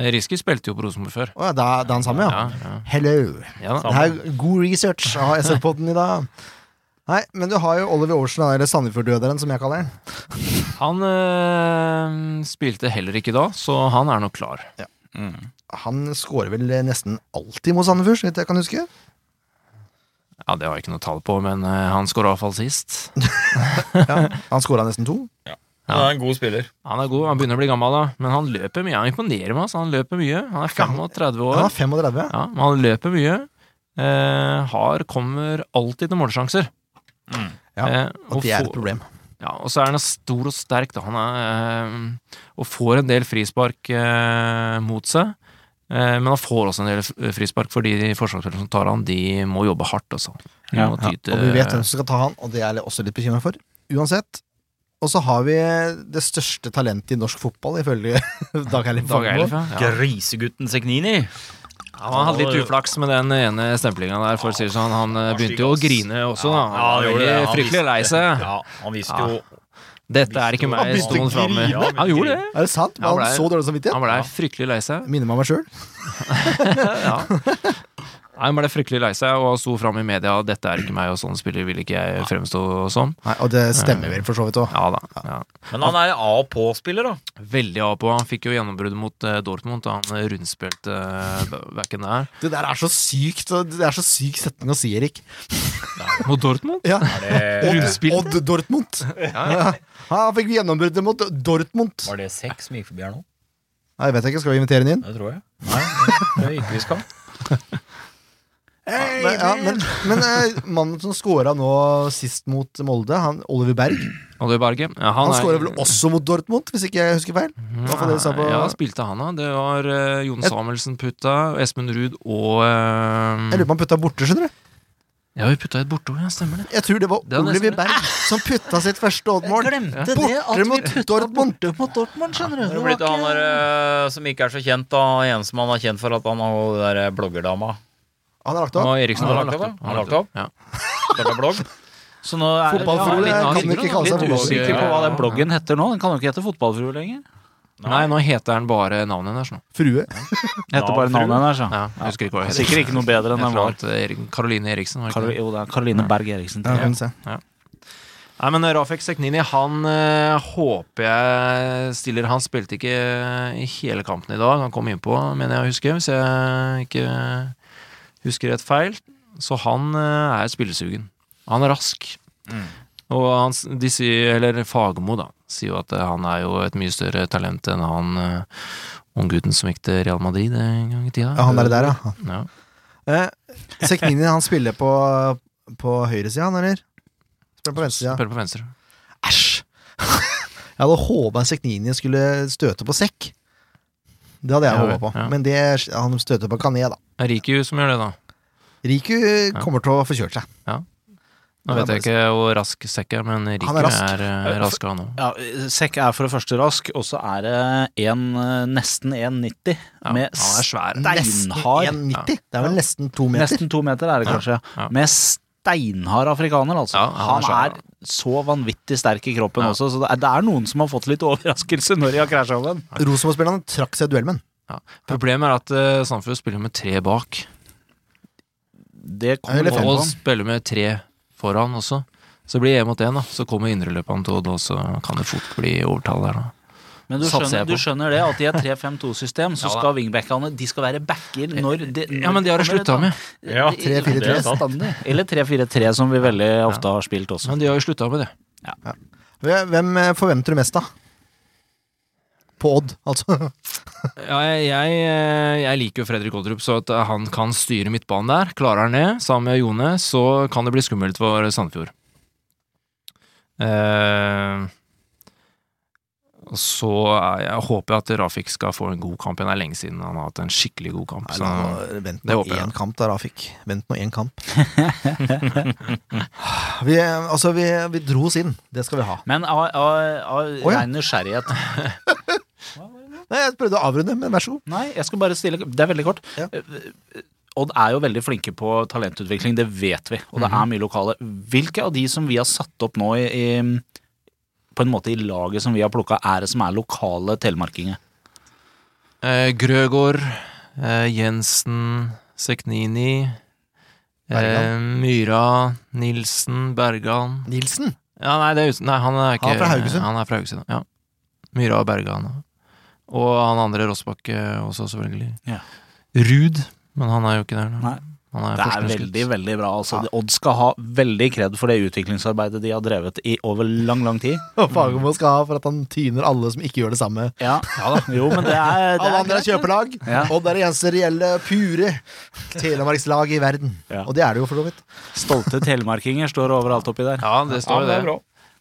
Speaker 6: Eh, Riski spilte jo på Rosenborg før.
Speaker 1: Å ja, da, da er han sammen, ja.
Speaker 6: Ja, ja.
Speaker 1: Hello.
Speaker 6: Ja da.
Speaker 1: Det her er god research av SR-podden i dag. Nei, men du har jo Oliver Aarsen, eller Sandefjord-døderen, som jeg kaller den.
Speaker 6: Han øh, spilte heller ikke da, så han er nok klar.
Speaker 1: Han scorer vel nesten alltid mot Sandefjord, så vidt jeg kan huske.
Speaker 6: Ja, Det har jeg ikke noe tall på, men øh, han skåra iallfall sist.
Speaker 1: Han scora nesten to.
Speaker 5: Han er en god spiller.
Speaker 6: Han er god, han begynner å bli gammel, da, men han løper mye. Han imponerer meg, altså. Han løper mye. Han er 35
Speaker 1: Han er
Speaker 6: år,
Speaker 1: 35.
Speaker 6: ja, men han løper mye. Eh, har, kommer alltid til målsjanser.
Speaker 1: Ja,
Speaker 6: Eh,
Speaker 1: At
Speaker 6: og
Speaker 1: det er
Speaker 6: få-
Speaker 1: et problem.
Speaker 6: Ja, og så er han stor og sterk, da. Han er, eh, og får en del frispark eh, mot seg. Eh, men han får også en del f- eh, frispark, fordi de forsvarsspillerne som tar han, de må jobbe hardt, altså. De
Speaker 3: Ja,
Speaker 6: må
Speaker 1: Ja,
Speaker 6: ty til-
Speaker 1: og vi vet hvem som skal ta han, og det er jeg også litt bekymra for. Uansett. Og så har vi det største talentet i norsk fotball, ifølge Dag Eilif.
Speaker 6: Dag
Speaker 1: Fagermo.
Speaker 6: Eilif, ja. ja.
Speaker 5: Grisegutten Segnini.
Speaker 6: Han hadde litt uflaks med den ene stemplinga der, for å si det sånn. Han eh, begynte jo å grine også, da. Han var
Speaker 5: gjorde det.
Speaker 6: veldig fryktelig lei seg.
Speaker 5: Ja, han visste
Speaker 6: Ja.
Speaker 5: jo
Speaker 6: Dette er ikke meg,
Speaker 1: Han begynte
Speaker 6: sto
Speaker 1: å
Speaker 6: han framme.
Speaker 5: grine, han begynte
Speaker 6: Han
Speaker 5: å
Speaker 6: gjorde
Speaker 5: grine.
Speaker 6: det.
Speaker 1: Er det sant? Var
Speaker 6: Han
Speaker 1: han
Speaker 6: ble-
Speaker 1: så dårlig samvittighet?
Speaker 6: Han blei fryktelig lei seg.
Speaker 1: Minner meg om meg sjøl.
Speaker 6: Nei, Han ble fryktelig lei seg og sto fram i media. 'Dette er ikke meg, og sånn spiller vil ikke jeg fremstå som'.
Speaker 1: Og det stemmer vel, for så vidt òg.
Speaker 6: Ja da. Ja.
Speaker 5: Men han er A og på-spiller, da.
Speaker 6: Veldig av på. Han fikk jo gjennombruddet mot eh, Dortmund da han eh, rundspilte eh, b- backen der.
Speaker 1: Det der er så sykt, og det er så syk setning å si, Erik.
Speaker 6: Mot Dortmund?
Speaker 1: Ja. Odd,
Speaker 6: Rundspill.
Speaker 1: Odd Dortmund. Ja, han fikk gjennombruddet mot Dortmund.
Speaker 5: Var det seks som gikk forbi her nå?
Speaker 1: Nei, jeg vet ikke, skal vi invitere han inn?
Speaker 5: Det tror jeg. Nei, det gikk vi skal.
Speaker 1: Men, ja, men, men eh, mannen som scora nå sist mot Molde, han, Oliver Berg,
Speaker 6: Oliver Berge. Ja,
Speaker 1: han
Speaker 6: er- Mm.
Speaker 1: scora vel også mot Dortmund, hvis ikke jeg husker feil? Hva for det du sa på-
Speaker 6: Ja, spilte han da. Det var eh, Jon Samuelsen putta, Espen Ruud og eh,
Speaker 1: Jeg lurer på om han putta borte, skjønner du.
Speaker 6: Ja, vi putta et bortord, ja. Stemmer det.
Speaker 1: Jeg tror det var
Speaker 6: Det er nesten
Speaker 1: Oliver
Speaker 6: det.
Speaker 1: Berg som putta sitt første Odd-mål.
Speaker 4: Glemte
Speaker 1: Borte mot Dortmund.
Speaker 4: borte mot Dortmund, skjønner
Speaker 5: Det blir han der, eh, som ikke er så kjent, da. En som han er kjent for at han har hun der eh, bloggerdama.
Speaker 1: Han har lagt opp.
Speaker 6: Og Eriksen
Speaker 5: Han
Speaker 6: har
Speaker 5: har lagt opp, da.
Speaker 6: Han har lagt opp. Ja.
Speaker 5: Starta blogg.
Speaker 3: Så nå er
Speaker 1: Fotballfrue
Speaker 3: ja,
Speaker 1: kan
Speaker 3: litt-
Speaker 1: ikke kalle seg
Speaker 3: Litt
Speaker 1: fotballfrue.
Speaker 3: usikker på hva den
Speaker 6: Ja.
Speaker 3: bloggen heter nå. Den kan jo ikke hete Fotballfrue lenger.
Speaker 6: Nei, nå heter han bare navnet hennes nå.
Speaker 1: Frue.
Speaker 3: Den heter bare
Speaker 5: Nav-frue.
Speaker 3: navnet hennes. ja.
Speaker 6: Ja, jeg husker ikke hva det heter.
Speaker 3: Sikkert ikke noe bedre enn
Speaker 6: Et
Speaker 3: den
Speaker 6: eller
Speaker 3: var.
Speaker 6: annet, eh, Erik- Caroline Eriksen, var det ikke
Speaker 3: Karol-
Speaker 6: det?
Speaker 3: Jo, det er Karoline Berg Eriksen.
Speaker 1: Ja,
Speaker 3: tror jeg.
Speaker 1: kan du se.
Speaker 6: Nei, men Rafek Seknini, han eh, håper jeg stiller Han spilte ikke i hele kampen i dag, han kom innpå, mener jeg å huske, hvis jeg ikke husker rett feil. Så han eh, er spillesugen. Han er rask. Og han, s- de sier, eller Fagermo, da, sier jo at eh, han er jo et mye større talent enn han eh, unggutten som gikk til Real Madrid en gang i tida.
Speaker 1: Ja, han er det der, ja.
Speaker 6: Ja.
Speaker 1: Eh, Sekhnini, han spiller på, på høyresida, han, eller? Spiller på venstresida.
Speaker 6: Spiller på venstre.
Speaker 1: Æsj! Jeg hadde håpa Sekhnini skulle støte på sekk. Det hadde jeg
Speaker 6: Ja,
Speaker 1: håpa på.
Speaker 6: ja.
Speaker 1: Men det, han støter på kané, da.
Speaker 6: Det er Riku som gjør det, da.
Speaker 1: Riku kommer til å få kjørt seg.
Speaker 6: Nå vet jeg ikke hvor rask Sekk er, men Riku
Speaker 1: Han er
Speaker 6: er,
Speaker 1: rask.
Speaker 6: er eh, rask, han òg.
Speaker 3: Ja, Sekk er for det første rask, og så er det en, eh, nesten 1,90
Speaker 6: Ja,
Speaker 3: med
Speaker 6: han er svær.
Speaker 1: Nesten
Speaker 3: steinhard
Speaker 1: 1,90. Det er vel nesten to meter.
Speaker 3: Nesten to meter er det kanskje.
Speaker 6: ja.
Speaker 3: Med steinhard afrikaner, altså.
Speaker 6: Ja, han
Speaker 3: han,
Speaker 6: er
Speaker 3: er
Speaker 6: svær,
Speaker 3: så vanvittig sterk i kroppen
Speaker 6: Ja.
Speaker 3: også, så det er, det er noen som har fått litt overraskelse når de har krasja over den.
Speaker 1: Rosenborg-spillerne trakk seg i duellmenn.
Speaker 6: Ja. Problemet er at uh, Sandefjord spiller med tre bak,
Speaker 3: Det kommer
Speaker 1: Eller
Speaker 3: litt
Speaker 1: fem.
Speaker 3: an
Speaker 6: og
Speaker 3: på.
Speaker 6: spiller med tre foran også. Så det blir det én mot én, da. Så kommer indreløperne til Odd, og så kan det fort bli overtall der, da.
Speaker 3: Men du
Speaker 6: satser
Speaker 3: skjønner,
Speaker 6: jeg
Speaker 3: du
Speaker 6: på.
Speaker 3: skjønner det, at i et 3-5-2-system så
Speaker 6: Ja da.
Speaker 3: skal wingbackene De skal være backer når de,
Speaker 6: Ja, men de har
Speaker 3: når
Speaker 6: det slutta
Speaker 3: kommer et annet-
Speaker 6: med.
Speaker 5: Ja,
Speaker 3: det-
Speaker 1: 3-4-3.
Speaker 3: det er bestandig. Eller 3-4-3, som vi veldig ofte har spilt også.
Speaker 6: Men de har jo slutta med det.
Speaker 1: Hvem eh, forventer du mest, da? på Odd, altså.
Speaker 6: Ja, jeg, jeg, eh, jeg liker jo Fredrik Oldrup, så at han kan styre midtbanen der. Klarer han det, sammen med Jone, så kan det bli skummelt for Sandefjord. Eh, og så er, jeg håper jeg at Rafik skal få en god kamp igjen. Det er lenge siden han har hatt en skikkelig god kamp. Så,
Speaker 1: vent
Speaker 6: det
Speaker 1: nå
Speaker 6: håper jeg.
Speaker 1: én kamp da, Rafik. Vent nå én kamp. vi, altså, vi, vi dro oss inn. Det skal vi ha.
Speaker 3: Men av, av, av
Speaker 1: Å, ja.
Speaker 3: ren nysgjerrighet
Speaker 1: Nei, jeg prøvde å avrunde, men vær så god.
Speaker 3: Nei, jeg skal bare stille Det er veldig kort. Eh,
Speaker 1: Ja.
Speaker 3: Odd er jo veldig flinke på talentutvikling, det vet vi. Og det er mye lokale. Hvilke av de som vi har satt opp nå i, i på en måte i laget som vi har plukka, er det som er lokale telemarkinger?
Speaker 6: eh, Grøgaard, eh, Jensen, Seknini, eh,
Speaker 1: Bergan.
Speaker 6: Myra, Nilsen, Bergan
Speaker 1: Nilsen.
Speaker 6: Ja, nei, det er uten, nei han er ikke
Speaker 1: Han er fra Haugesund.
Speaker 6: Han er fra Haugesund, ja. Myra og Bergan. Og han andre Rossbakke også, selvfølgelig.
Speaker 3: Ja.
Speaker 6: Ruud, men han er jo ikke der nå.
Speaker 3: Nei.
Speaker 6: Han er
Speaker 3: Det er
Speaker 6: førstemannsgutt.
Speaker 3: veldig, veldig bra. Altså, Odd skal ha veldig kred for det utviklingsarbeidet de har drevet i over lang, lang tid.
Speaker 1: Og Fagermo skal ha for at han tyner alle som ikke gjør det samme.
Speaker 3: Ja, ja da. Jo, men det er, det
Speaker 1: Alle
Speaker 3: er
Speaker 1: andre er kjøpelag.
Speaker 3: Ja.
Speaker 1: Odd er det eneste reelle, pure telemarkslaget i verden.
Speaker 3: Ja.
Speaker 1: Og det er det jo, for så vidt.
Speaker 3: Stolte telemarkinger står overalt oppi der.
Speaker 6: Ja, det står jo det.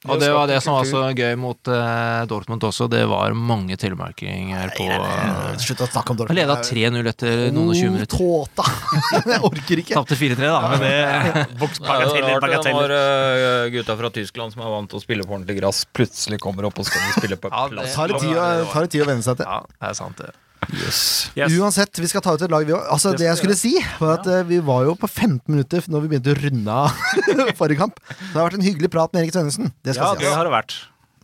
Speaker 6: Og det var det som var så gøy mot eh, Dortmund også. Det var mange telemarkinger på eh,
Speaker 1: Slutt å snakke om
Speaker 6: Han leda 3-0 etter noen og
Speaker 1: Oh,
Speaker 6: 20 minutter.
Speaker 1: Tåta! Jeg orker ikke.
Speaker 6: Tapte 4-3, da. Men det,
Speaker 5: Bagateller, bagateller. Når øh, gutta fra Tyskland som er vant til å spille på ordentlig grass, plutselig kommer opp og skal de spille på
Speaker 6: Ja, det-
Speaker 5: plass.
Speaker 1: Tar det tid, å- tar det tid å venne seg til.
Speaker 6: ja, det er sant, det.
Speaker 3: Yes.
Speaker 1: Uansett, vi skal ta ut et lag, vi òg. Altså, det jeg skulle si, var at eh, vi var jo på 15 minutter når vi begynte å runde av forrige kamp. Så det har vært en hyggelig prat med Erik Tønnesen. Det
Speaker 3: Ja,
Speaker 1: skal
Speaker 3: det
Speaker 1: sies.
Speaker 3: har det vært.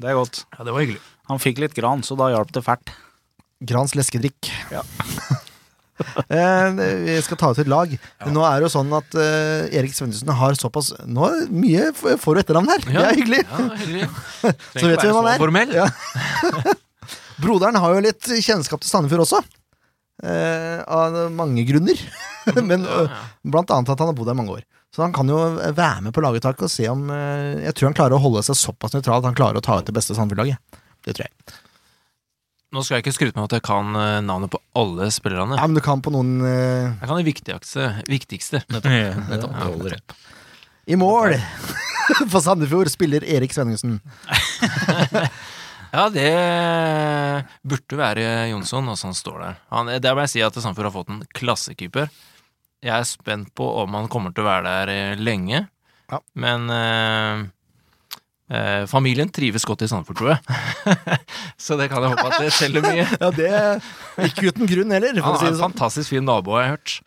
Speaker 3: Det er godt.
Speaker 6: Ja, det var hyggelig.
Speaker 3: Han fikk litt gran, så da hjalp det fælt.
Speaker 1: Grans leskedrikk. Eh, Vi skal ta ut et lag. Nå er det jo sånn at eh, Erik Svendesen har såpass Nå er mye f- får du etternavn her. Det er hyggelig.
Speaker 6: Ja, det var hyggelig.
Speaker 1: Så vet vi hvem han er.
Speaker 6: Formell.
Speaker 1: Ja. Broderen har jo litt kjennskap til Sandefjord også. Eh, av mange grunner. Men eh, blant annet at han har bodd her mange år. Så han kan jo eh, være med på laguttaket og se om eh, Jeg tror han klarer å holde seg såpass nøytral at han klarer å ta ut det beste Sandefjord-laget. Det tror jeg.
Speaker 6: Nå skal jeg ikke skryte med at jeg kan eh, navnet på alle spillerne.
Speaker 1: Ja, men du kan på noen eh,
Speaker 6: Jeg kan det viktigste. viktigste.
Speaker 1: I mål for Sandefjord spiller Erik Svenningsen.
Speaker 6: Ja, det burde være Jonsson, og sånn står der. Han, der må jeg si at Sandefjord har fått en klassekeeper. Jeg er spent på om han kommer til å være der eh, lenge,
Speaker 1: Ja.
Speaker 6: men eh, eh, familien trives godt i Sandefjord, tror jeg. Så det kan jeg håpe at det selger mye.
Speaker 1: Ja, det Ikke uten grunn heller, for å
Speaker 6: Han
Speaker 1: si det
Speaker 6: er en
Speaker 1: sånn.
Speaker 6: fantastisk fin nabo, har jeg hørt.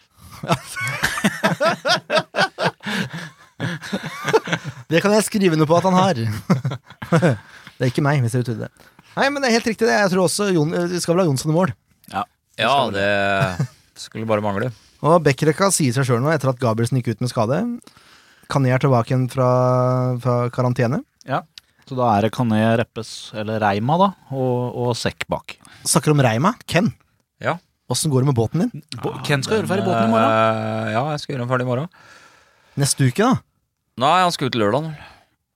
Speaker 1: Det kan jeg skrive noe på at han har. det er ikke meg, hvis dere trodde det. Nei, men det er helt riktig, det. Jeg tror også Jon, vi skal vel ha Jonsson i mål.
Speaker 5: Ja, det skulle bare mangle.
Speaker 1: Og Bekkerekka sier seg sjøl nå, etter at Gabrielsen gikk ut med skade. Kané er tilbake igjen fra, fra karantene.
Speaker 3: Så da er det Kané Reppes, eller Reima, da, og, og Sekk bak.
Speaker 1: Snakker om Reima. Ken.
Speaker 5: Ja.
Speaker 1: Åssen går det med båten din?
Speaker 3: Ken skal gjøre ferdig båten i morgen.
Speaker 5: Eh, ja, jeg skal gjøre den ferdig i morgen.
Speaker 1: Neste uke, da?
Speaker 5: Nei, han skal ut lørdag.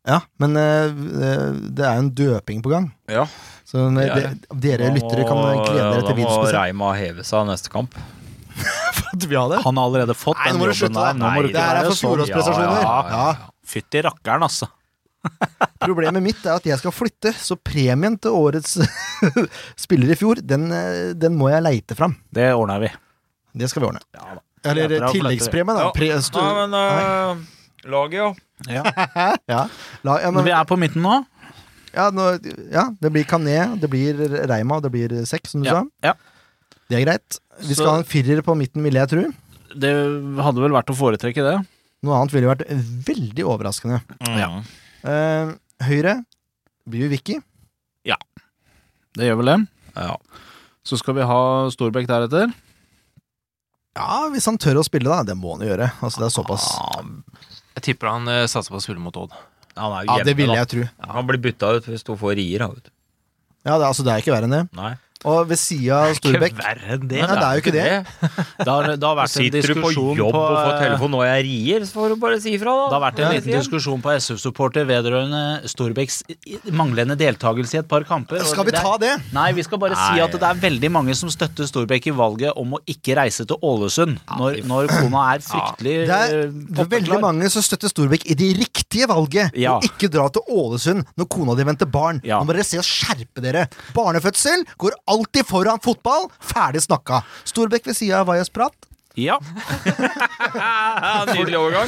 Speaker 1: Ja, men eh, eh, det er jo en døping på gang.
Speaker 5: Ja.
Speaker 1: Så eh,
Speaker 5: Det er
Speaker 1: de, dere lyttere kan glede dere til
Speaker 5: Da må
Speaker 1: videospesial.
Speaker 5: Reima heve seg neste kamp.
Speaker 1: Vi har det.
Speaker 3: Han har allerede fått
Speaker 1: Nei, nå
Speaker 3: den
Speaker 1: må du
Speaker 3: jobben
Speaker 1: slutte, da.
Speaker 3: der. Nå må du
Speaker 1: Det her er
Speaker 3: være
Speaker 1: for
Speaker 3: sånn.
Speaker 1: fjorårsprestasjoner.
Speaker 3: Ja,
Speaker 1: Ja,
Speaker 3: ja, Fytti rakkeren, altså.
Speaker 1: Problemet mitt er at jeg skal flytte, så premien til årets spiller i fjor, den, eh, den må jeg leite fram.
Speaker 3: Det ordner vi.
Speaker 1: Det skal vi ordne.
Speaker 3: Ja da.
Speaker 1: Eller
Speaker 3: Leter av
Speaker 1: tilleggspremie, da.
Speaker 5: Ja.
Speaker 1: Pre, stu,
Speaker 5: Nei, men eh, laget, ja.
Speaker 1: ja. La, ja,
Speaker 3: Men
Speaker 1: men,
Speaker 3: vi er på midten nå.
Speaker 1: ja, nå, ja, det blir Kané, det blir Reima og det blir Sekk, som du
Speaker 3: Ja. ja.
Speaker 1: sa. Det er greit. Vi
Speaker 3: Så-
Speaker 1: skal ha en firer på midten, vil jeg tro.
Speaker 3: Det hadde vel vært å foretrekke det.
Speaker 1: Noe annet ville vært veldig overraskende.
Speaker 3: Mm. Ja.
Speaker 1: Eh, høyre blir jo Vicky.
Speaker 3: Det gjør vel det.
Speaker 5: Ja.
Speaker 3: Så skal vi ha Storbekk deretter.
Speaker 1: Ja, hvis han tør å spille, da. Det må han jo gjøre. Altså, det er såpass.
Speaker 3: Ah,
Speaker 6: Jeg tipper han eh, satser på å spille mot Odd.
Speaker 5: Han er jo
Speaker 1: Ja,
Speaker 5: hjemme,
Speaker 1: det ville
Speaker 5: da.
Speaker 1: jeg tro.
Speaker 5: Han blir bytta ut hvis to får rier. da, vet du.
Speaker 1: Ja, det, altså, det er ikke verre enn det.
Speaker 5: Nei.
Speaker 1: Og ved sida av Storbekk
Speaker 3: verre enn
Speaker 1: Nei, det er jo ikke det.
Speaker 3: Det har, det har vært en
Speaker 5: Sitter du på
Speaker 3: diskusjon
Speaker 5: jobb og får
Speaker 3: eh,
Speaker 5: telefon når jeg rier, så får du bare si ifra, da.
Speaker 3: Det har vært en
Speaker 5: Ja.
Speaker 3: liten diskusjon på SU-supporter vedrørende Storbekks i- i- manglende deltakelse i et par kamper. og
Speaker 1: Skal vi
Speaker 3: det er-
Speaker 1: ta det?
Speaker 3: Nei, vi skal bare si at det er veldig mange som støtter Storbekk i valget om å ikke reise til Ålesund når, når kona er fryktelig
Speaker 1: Det er, det er
Speaker 3: eh,
Speaker 1: veldig
Speaker 3: potteklar.
Speaker 1: mange som støtter Storbekk i det riktige valget.
Speaker 3: Ja.
Speaker 1: Og ikke dra til Ålesund når kona di venter barn.
Speaker 3: Ja.
Speaker 1: Nå må dere se og skjerpe dere. Barnefødsel går alltid foran fotball. Ferdig snakka. Storbekk ved sida av Vajas prat.
Speaker 3: Ja.
Speaker 5: Nydelig overgang.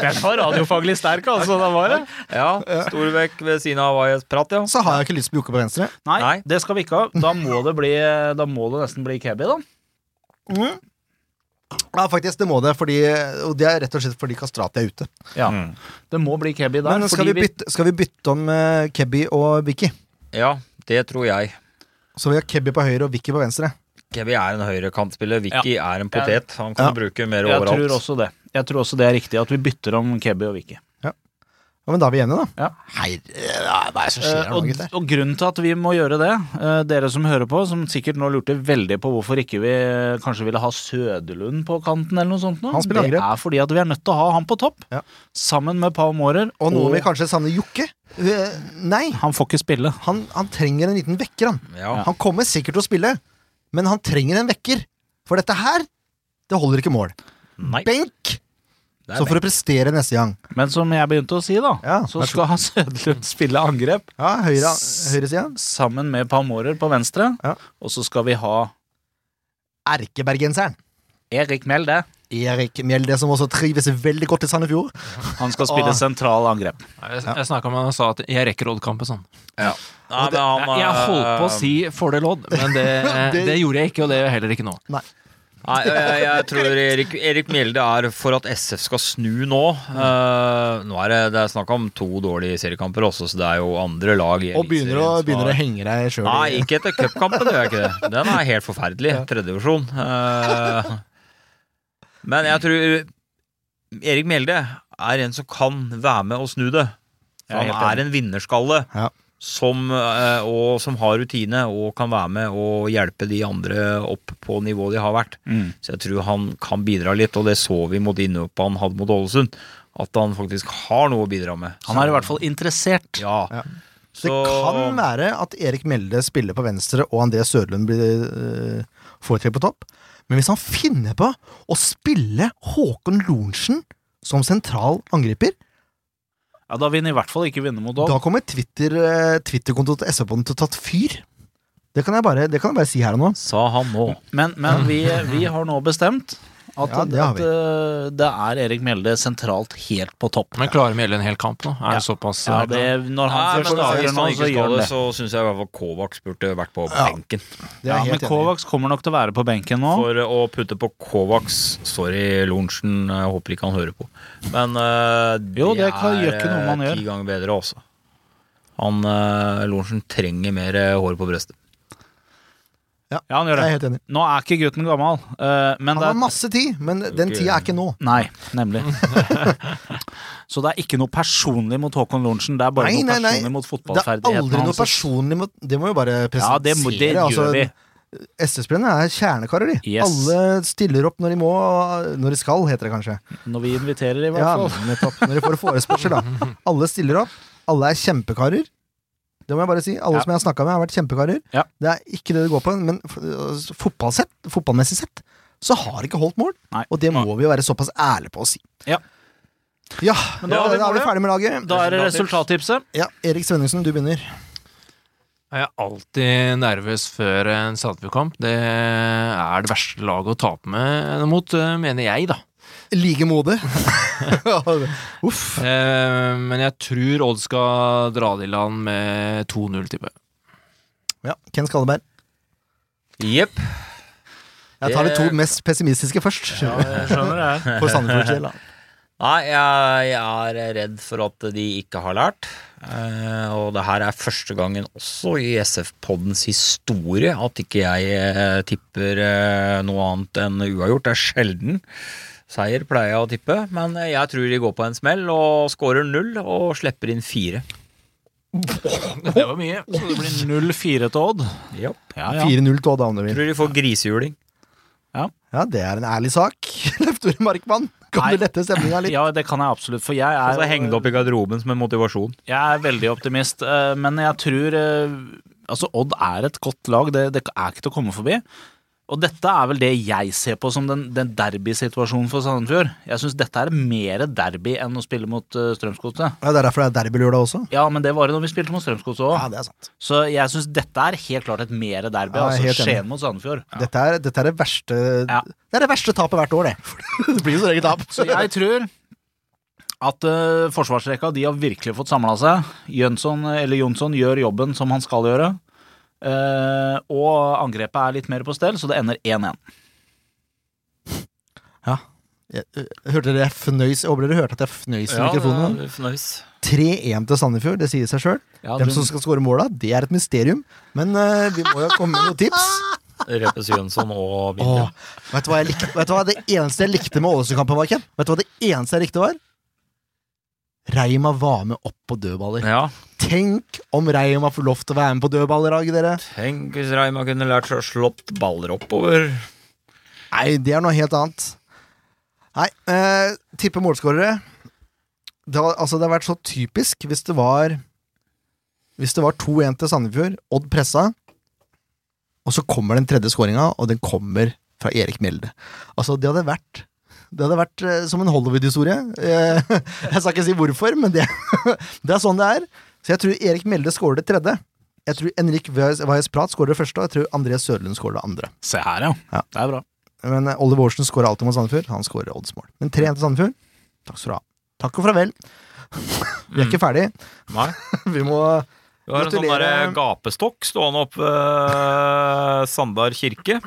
Speaker 3: Den var radiofaglig sterk, altså. Den var det.
Speaker 5: Ja, Storvekk ved siden av Vajas prat, ja.
Speaker 1: Så har jeg ikke lyst på Jokke på venstre.
Speaker 3: Nei,
Speaker 5: Nei.
Speaker 3: det skal vi ikke ha. Da må det, bli, da må det nesten bli Kebby, da.
Speaker 1: Mm. Ja, faktisk, det må det. Fordi, og det er rett og slett fordi Kastrati er ute.
Speaker 3: Ja. Det må bli Kebby der.
Speaker 1: Men skal
Speaker 3: fordi
Speaker 1: vi bytte, skal vi bytte om eh, Kebby og Vicky?
Speaker 5: Ja, det tror jeg.
Speaker 1: Så vi har Kebby på høyre og Vicky på venstre.
Speaker 5: Kebby er en høyrekantspiller. Vicky er en potet. Han kan
Speaker 1: Ja.
Speaker 5: du bruke mer
Speaker 3: Jeg tror
Speaker 5: overalt.
Speaker 3: også det. Jeg tror også det er riktig at vi bytter om Kebby og Vicky.
Speaker 1: Ja, men da er vi enige, da.
Speaker 3: Ja.
Speaker 1: Hei, eh, hva er det som skjer
Speaker 3: Eh,
Speaker 1: her nå,
Speaker 3: og,
Speaker 1: gutter?
Speaker 3: og grunnen til at vi må gjøre det, eh, dere som hører på, som sikkert nå lurte veldig på hvorfor ikke vi eh, kanskje ville ha Søderlund på kanten eller noe sånt nå,
Speaker 1: Han spiller
Speaker 3: det
Speaker 1: angrep.
Speaker 3: er fordi at vi er nødt til å ha han på topp,
Speaker 1: Ja.
Speaker 3: sammen med Pau Mårer.
Speaker 1: Og noen vil kanskje savne Jokke. Eh, Nei,
Speaker 3: Han får ikke spille.
Speaker 1: han, han trenger en liten vekker, han.
Speaker 5: Ja.
Speaker 1: Han kommer sikkert til å spille, men han trenger en vekker. For dette her, det holder ikke mål.
Speaker 5: Nei.
Speaker 1: Benk!
Speaker 5: Det
Speaker 1: Så
Speaker 5: er
Speaker 1: for å prestere neste gang.
Speaker 3: Men som jeg begynte å si, da,
Speaker 1: Ja,
Speaker 3: så
Speaker 1: vær så
Speaker 3: skal han Søderlund spille angrep
Speaker 1: Ja, høyre, høyresida.
Speaker 3: sammen med Pau Mårer på venstre,
Speaker 1: Ja.
Speaker 3: og så skal vi ha
Speaker 1: Erkebergenseren.
Speaker 3: Erik Melde.
Speaker 1: Erik Mjelde, som også trives veldig godt i Sandefjord.
Speaker 3: Han skal spille
Speaker 1: Ah.
Speaker 3: sentral angrep.
Speaker 6: Nei, Jeg, jeg snakka med han og sa at jeg rekker Odd-kampen sånn.
Speaker 5: Nei, men han,
Speaker 6: Jeg, jeg holdt på å
Speaker 5: eh,
Speaker 6: si fordel Odd, men det, eh,
Speaker 1: Det-
Speaker 6: det gjorde jeg ikke, og det gjør jeg heller ikke nå.
Speaker 5: Nei, jeg, jeg tror Erik, Erik Mjelde er for at SF skal snu nå. Eh, nå er det, det er snakk om to dårlige seriekamper også, så det er jo andre lag i
Speaker 1: Og begynner å,
Speaker 5: Eliteserien som
Speaker 1: begynner å
Speaker 5: har-
Speaker 1: henge deg sjøl
Speaker 5: Nei, ikke etter cupkampen gjør jeg ikke det. Den er helt forferdelig. Tredjevisjon. Uh, men jeg tror Erik Mjelde er en som kan være med og snu det.
Speaker 3: Jeg er
Speaker 5: Han
Speaker 3: helt
Speaker 5: er en vinnerskalle
Speaker 1: Ja.
Speaker 5: som, eh, og, som har rutine og kan være med og hjelpe de andre opp på nivået de har vært.
Speaker 3: Mm.
Speaker 5: Så jeg tror han kan bidra litt, og det så vi mot innhoppet han hadde mot Ålesund. At han faktisk har noe å bidra med.
Speaker 3: Han er i hvert fall interessert.
Speaker 5: Ja.
Speaker 1: Ja.
Speaker 5: Så,
Speaker 1: Det kan være at Erik Mjelde spiller på venstre, og André Sørlund blir øh, foretrekt på topp. Men hvis han finner på å spille Håkon Lorentzen som sentral angriper,
Speaker 3: Ja, da vil han i hvert fall ikke vinne mot Odd.
Speaker 1: da kommer Twitter, øh, Twitter-kontoen til SV-båndet til å tatt fyr. Det kan, jeg bare, det kan jeg bare si her og nå.
Speaker 5: sa han nå.
Speaker 3: Men, men vi, vi har nå bestemt at,
Speaker 1: Ja, det
Speaker 3: det,
Speaker 1: har
Speaker 3: at
Speaker 1: vi.
Speaker 3: eh, det er Erik Mjelde sentralt helt på topp.
Speaker 6: Men klarer Mjelde en hel kamp nå? Er det såpass eh,
Speaker 3: Ja, det, når
Speaker 5: Nei,
Speaker 3: han
Speaker 5: men
Speaker 3: først
Speaker 5: da,
Speaker 3: avgjør
Speaker 5: hvis
Speaker 3: nå,
Speaker 5: han ikke
Speaker 3: så gjør
Speaker 5: skal
Speaker 3: han
Speaker 5: det,
Speaker 3: det.
Speaker 5: så syns jeg i hvert fall Kovacs burde vært på benken.
Speaker 1: Det er jeg
Speaker 3: Ja, men
Speaker 1: helt enig i.
Speaker 3: Kovacs kommer nok til å være på benken nå.
Speaker 5: For eh, å putte på Kovacs Sorry, Lorentzen. eh, Jeg håper ikke han hører på. Men eh, det,
Speaker 3: Jo, det kan- gjør
Speaker 5: er
Speaker 3: ikke noe man
Speaker 5: eh,
Speaker 3: gjør.
Speaker 5: ti ganger bedre også. Han eh, Lorentzen trenger mer eh, hår på brystet.
Speaker 3: Ja, han gjør
Speaker 1: Jeg er
Speaker 3: det.
Speaker 1: helt enig.
Speaker 3: Nå er ikke gutten gammel, eh, men
Speaker 1: Han
Speaker 3: det
Speaker 1: har
Speaker 3: er
Speaker 1: masse tid, men den
Speaker 5: Ok.
Speaker 1: tida er ikke nå.
Speaker 3: Nei, nemlig. Så det er ikke noe personlig mot Håkon Lorentzen, det er bare
Speaker 1: Nei,
Speaker 3: noe
Speaker 1: nei, nei.
Speaker 3: personlig mot
Speaker 1: Det er
Speaker 3: fotballferdighetene
Speaker 1: aldri noe
Speaker 3: hans.
Speaker 1: personlig mot Det må vi bare
Speaker 3: Ja,
Speaker 1: presentere.
Speaker 3: det, må- det gjør
Speaker 1: altså,
Speaker 3: vi.
Speaker 1: SV-spillerne er kjernekarer, de.
Speaker 3: Yes.
Speaker 1: Alle stiller opp når de må, når de skal, heter det kanskje.
Speaker 3: Når vi inviterer, i hvert
Speaker 1: Ja,
Speaker 3: fall.
Speaker 1: nettopp. Når de får forespørsel, da. Alle stiller opp. Alle er kjempekarer. Det må jeg bare si. Alle
Speaker 3: Ja.
Speaker 1: som jeg har snakka med, har vært kjempekarer.
Speaker 3: Ja.
Speaker 1: Det er ikke det det går på, men f- altså, fotballsett, fotballmessig sett så har det ikke holdt mål.
Speaker 3: Nei.
Speaker 1: Og det må vi jo være såpass ærlige på å si.
Speaker 3: Ja.
Speaker 1: Ja,
Speaker 3: Men
Speaker 1: da,
Speaker 3: da har
Speaker 1: da er
Speaker 3: vi
Speaker 1: vi
Speaker 3: målet.
Speaker 1: ferdig med laget.
Speaker 3: Da er det resultattipset.
Speaker 1: Ja, Erik Svenningsen, du begynner.
Speaker 6: Jeg er alltid nervøs før en Sandefjord-kamp. Det er det verste laget å tape med mot, eh, mener jeg, da.
Speaker 1: I like mode. Uff.
Speaker 6: Eh, Men jeg tror Odd skal dra det i land med 2-0, tipper jeg.
Speaker 1: Ja, Ken Skalleberg.
Speaker 5: Jepp.
Speaker 1: Jeg tar de
Speaker 5: Det-
Speaker 1: to mest pessimistiske først. For Sandefjords del, da.
Speaker 5: Nei, jeg, jeg er redd for at de ikke har lært. Eh, og det her er første gangen også i SF-poddens historie at ikke jeg eh, tipper eh, noe annet enn uavgjort. Det er sjelden. Seier pleier jeg å tippe, men jeg tror de går på en smell og scorer null og slipper inn fire.
Speaker 6: Det var mye.
Speaker 3: Så det blir 0-4 til Odd.
Speaker 5: Japp.
Speaker 3: Ja, ja.
Speaker 1: 4-0 til Odd Agnevin.
Speaker 5: Tror de får grisehjuling.
Speaker 1: Ja, det er en ærlig sak. Leif Tore Markmann, kan
Speaker 3: Nei.
Speaker 1: du lette stemninga litt?
Speaker 3: ja, det kan jeg absolutt. For jeg
Speaker 5: Og så
Speaker 3: er,
Speaker 5: henge det opp i garderoben som en motivasjon.
Speaker 3: jeg er veldig optimist. eh, Men jeg tror eh, Altså, Odd er et godt lag. Det, det er ikke til å komme forbi. Og dette er vel det jeg ser på som den, den derbysituasjonen for Sandefjord. Jeg syns dette er mer derby enn å spille mot eh, Strømsgodset.
Speaker 1: Ja, Det er derfor det er derby lørdag også.
Speaker 3: Ja, men det var det når vi spilte mot Strømsgodset
Speaker 1: Ja,
Speaker 3: òg.
Speaker 1: det er sant.
Speaker 3: Så jeg syns dette er helt klart et mer derby.
Speaker 1: Ja, jeg er
Speaker 3: altså
Speaker 1: helt enig.
Speaker 3: Skien mot Sandefjord.
Speaker 1: Dette, er, dette er det verste
Speaker 3: Ja.
Speaker 1: Det er det verste tapet hvert år, det. det blir jo så eget tap.
Speaker 3: Så jeg tror at eh, forsvarsrekka de har virkelig fått samla seg. Jønsson, eller Jonsson gjør jobben som han skal gjøre. Eh, og angrepet er litt mer på stell, så det ender 1-1.
Speaker 1: Jeg, øh, hørte dere jeg fnøys? Jeg håper dere hørte at jeg fnøys i mikrofonen.
Speaker 5: det er fnøys.
Speaker 1: 3-1 til Sandefjord, det sier seg sjøl. Hvem som skal skåre måla, det er et mysterium. Men øh, vi må jo komme med noen tips.
Speaker 5: Repes Jønsson og
Speaker 1: Åh,
Speaker 5: Vinter.
Speaker 1: vet, du hva jeg likte, vet du hva det eneste jeg likte med Ålesund-kampen var, Ken? Vet du hva det eneste jeg likte var? Reima var med opp på dødballer.
Speaker 5: Ja.
Speaker 1: Tenk om Reima får lov til å være med på dødballer i dag, dere.
Speaker 5: Tenk hvis Reima kunne lært seg å slått baller oppover.
Speaker 1: Nei, det er noe helt annet. Nei, eh, tippe målskårere. Det, har- altså, det har vært så typisk hvis det var Hvis det var 2-1 til Sandefjord, Odd pressa, og så kommer den tredje skåringa, og den kommer fra Erik Mjelde. Altså, det hadde vært det hadde vært eh, som en Hollywood-historie. Eh, Jeg skal ikke si hvorfor, men det, det er sånn det er. Så jeg tror Erik Mjelde skårer det tredje. Jeg tror Henrik Wajez Prat skårer det første, og jeg tror André Sørlund skårer det andre.
Speaker 3: Se her, ja.
Speaker 1: Ja.
Speaker 3: Det er bra.
Speaker 1: Men eh, Oliver Aarsen skårer alltid mot Sandefjord. Han skårer oddsmål. Men 3-1 til Sandefjord. Takk skal du ha. Takk og farvel. Vi er ikke ferdig.
Speaker 5: Mm. Nei.
Speaker 1: Vi må
Speaker 5: Du har en sånn
Speaker 1: Gratulerer.
Speaker 5: der gapestokk stående oppe ved Sandar kirke.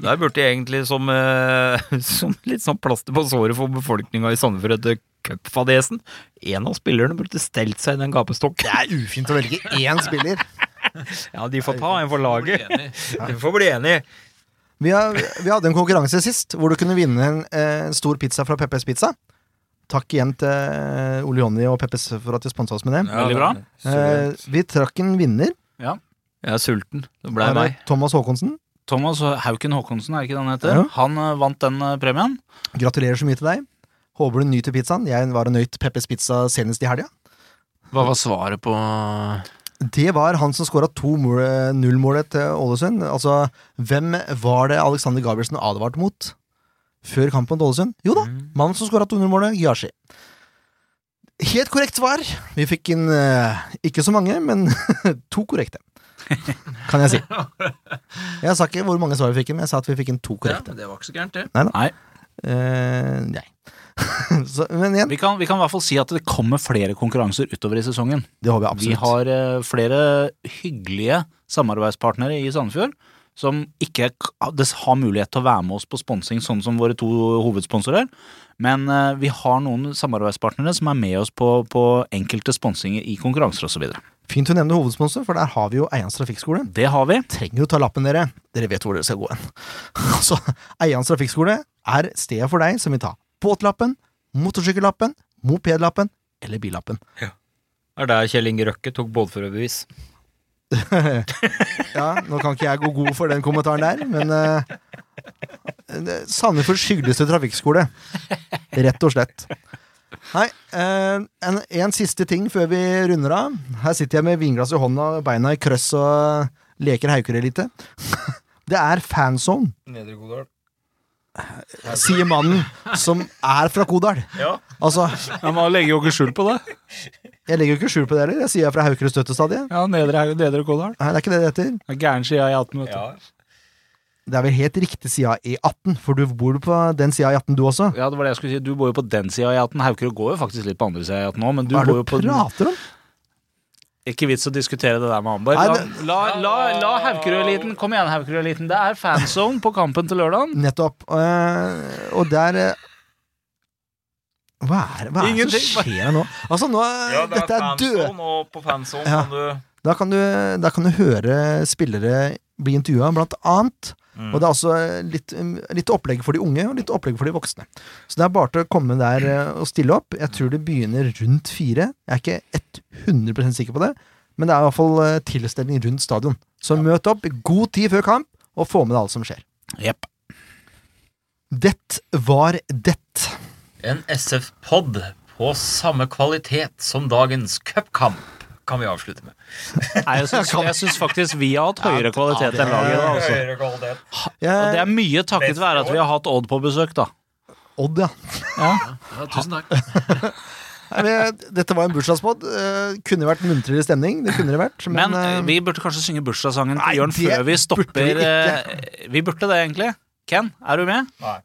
Speaker 5: Der burde jeg egentlig som, eh, som litt sånn plaster på såret for befolkninga i Sandefjord etter cupfadesen En av spillerne burde stelt seg i den gapestokken.
Speaker 1: Det er ufint å velge én spiller.
Speaker 5: Ja, de får ta en for laget. De får bli enige.
Speaker 1: Vi, har, vi hadde en konkurranse sist hvor du kunne vinne en, eh, en stor pizza fra Peppes Pizza. Takk igjen til eh, Ole Jonny og Peppes for at de sponsa oss med det.
Speaker 3: Veldig bra.
Speaker 1: Eh, vi trakk en vinner.
Speaker 5: Jeg er sulten. Det ble
Speaker 1: Her er
Speaker 5: meg.
Speaker 1: Thomas Håkonsen.
Speaker 3: Thomas Hauken Håkonsen, er ikke det han heter?
Speaker 1: Ja.
Speaker 3: Han eh, vant den eh, premien.
Speaker 1: Gratulerer så mye til deg. Håper du nyter pizzaen. Jeg var og nøt Peppes Pizza senest i helga.
Speaker 6: Hva var svaret på
Speaker 1: Det var han som skåra 2-0-målet til Ålesund. Altså, hvem var det Alexander Gabrielsen advarte mot før kampen til Ålesund? Jo da,
Speaker 3: Mm.
Speaker 1: mannen som skåra 2-0-målet, Yashi. Helt korrekt svar. Vi fikk inn eh, ikke så mange, men to korrekte. Kan jeg si. Jeg sa ikke hvor mange svar vi fikk inn, men jeg sa at vi fikk inn to korrekte.
Speaker 6: det var ikke så gærent, det.
Speaker 1: Eh, nei. så, men igjen,
Speaker 3: Vi kan, vi kan i hvert fall si at det kommer flere konkurranser utover i sesongen.
Speaker 1: det håper jeg
Speaker 3: Vi
Speaker 1: absolutt.
Speaker 3: har eh, flere hyggelige samarbeidspartnere i Sandefjord som ikke k- des- har mulighet til å være med oss på sponsing, sånn som våre to hovedsponsorer. Men eh, vi har noen samarbeidspartnere som er med oss på, på enkelte sponsinger i konkurranser osv.
Speaker 1: Fint å nevne hovedsponsor, for der har vi jo Eians trafikkskole.
Speaker 3: Det har vi.
Speaker 1: trenger jo ta lappen, dere. Dere vet hvor dere skal gå hen. Så Eians trafikkskole er stedet for deg som vil ta båtlappen, motorsykkellappen, mopedlappen eller billappen.
Speaker 5: Det er der Kjell Inge Røkke tok båtførerbevis.
Speaker 1: Ja, nå kan ikke jeg gå god for den kommentaren der, men eh, det- Sandefjords hyggeligste trafikkskole. Rett og slett. Nei, eh, en, en siste ting før vi runder av. Her sitter jeg med vinglass i hånda og beina i krøss og leker haukerelite. Det er fanzone. Nedre Godal. Sier mannen som er fra Kodal. Altså,
Speaker 3: Man legger jo ikke skjul på det.
Speaker 1: jeg legger jo ikke skjul på det heller. Jeg sier jeg er fra Haukerud støttestadie.
Speaker 3: Ja, Nedre, nedre Kodal.
Speaker 1: Nei, det er ikke det det heter.
Speaker 3: Gæren side i 18, vet du.
Speaker 1: Det er vel helt riktig sida E18, for du bor på den sida E18 du også.
Speaker 3: Ja, det var det jeg skulle si. Du bor jo på den sida i 18. Haukerud går jo faktisk litt på andre sida i 18 nå, men du
Speaker 1: Hva er det du
Speaker 3: bor jo på den.
Speaker 1: prater om?
Speaker 3: Ikke vits å diskutere det der med Amber.
Speaker 1: Nei,
Speaker 3: La,
Speaker 1: det-
Speaker 3: la, la, la Haukerud-eliten Kom igjen, Haukerud-eliten. Det er fanzone på kampen til lørdag.
Speaker 1: Nettopp. eh, og der eh, Hva er, hva er det som
Speaker 3: Ingenting.
Speaker 1: skjer her nå? Altså, nå
Speaker 5: Ja, det
Speaker 1: Dette
Speaker 5: er
Speaker 1: er død.
Speaker 5: fanzone, og på fanzone
Speaker 1: Ja.
Speaker 5: kan du
Speaker 1: Da kan, du, da kan du høre spillere bli intervjua, blant annet
Speaker 3: Mm.
Speaker 1: Og det er altså litt, litt opplegg for de unge og litt opplegg for de voksne. Så det er bare til å komme der eh, og stille opp. Jeg tror det begynner rundt fire. Jeg er ikke 100 sikker på det, men det er i hvert fall eh, tilstelning rundt stadion. Så møt opp i god tid før kamp, og få med deg alt som skjer.
Speaker 3: Jepp.
Speaker 1: Det var det.
Speaker 4: En SF-pod på samme kvalitet som dagens cupkamp, kan vi avslutte med.
Speaker 3: Nei, jeg syns, jeg syns faktisk vi har hatt høyere kvalitet enn laget i dag. Altså.
Speaker 5: Høyere kvalitet.
Speaker 3: Og det er mye takket
Speaker 5: Best
Speaker 3: være at vi har hatt Odd på besøk, da.
Speaker 1: Odd, ja.
Speaker 4: Ja, tusen takk.
Speaker 1: Nei, men, eh, Dette var en bursdagspod. Eh, Kunne vært muntrere stemning. Det kunne det vært. Men,
Speaker 3: Men
Speaker 1: eh,
Speaker 3: eh, vi burde kanskje synge bursdagssangen
Speaker 1: Nei,
Speaker 3: til Jørn
Speaker 1: det
Speaker 3: før vi stopper
Speaker 1: burde vi ikke.
Speaker 3: eh, Vi burde det, egentlig. Ken, er du med?
Speaker 5: Nei.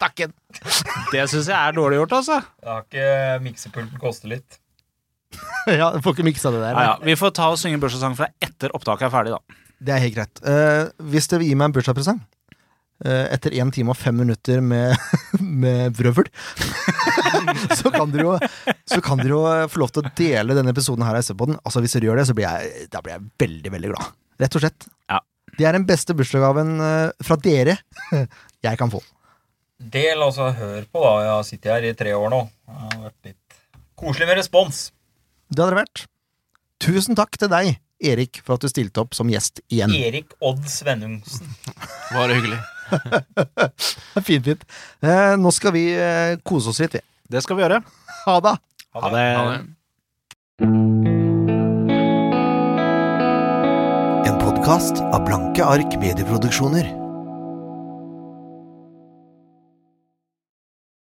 Speaker 3: Takken. Det syns jeg er dårlig gjort, altså.
Speaker 5: Det har ikke miksepulten koster litt.
Speaker 1: ja, får ikke miksa det der.
Speaker 3: Ja, ja. Vi får ta og synge bursdagssang fra etter opptaket er ferdig, da.
Speaker 1: Det er helt greit. Eh, hvis dere vil gi meg en bursdagspresang eh, etter én time og fem minutter med, med vrøvl, så kan dere jo Så kan dere jo eh, få lov til å dele denne episoden her av SV-podden. Altså, hvis dere gjør det, så blir jeg, da blir jeg veldig, veldig glad. Rett og slett.
Speaker 3: Ja.
Speaker 1: Det er den beste bursdagsgaven eh, fra dere jeg kan få.
Speaker 5: Del, altså. Hør på, da. Jeg har sittet her i tre år nå. Det har vært litt koselig med respons.
Speaker 1: Det hadde det vært. Tusen takk til deg, Erik, for at du stilte opp som gjest igjen.
Speaker 5: Erik Odd Svennungsen.
Speaker 6: Bare hyggelig.
Speaker 1: Fint, fint. Eh, nå skal vi eh, kose oss litt, vi.
Speaker 3: Det skal vi gjøre.
Speaker 1: Ha det!
Speaker 3: Ha
Speaker 5: Eh,
Speaker 3: det.
Speaker 6: Ha det.
Speaker 2: En podkast av Blanke ark medieproduksjoner.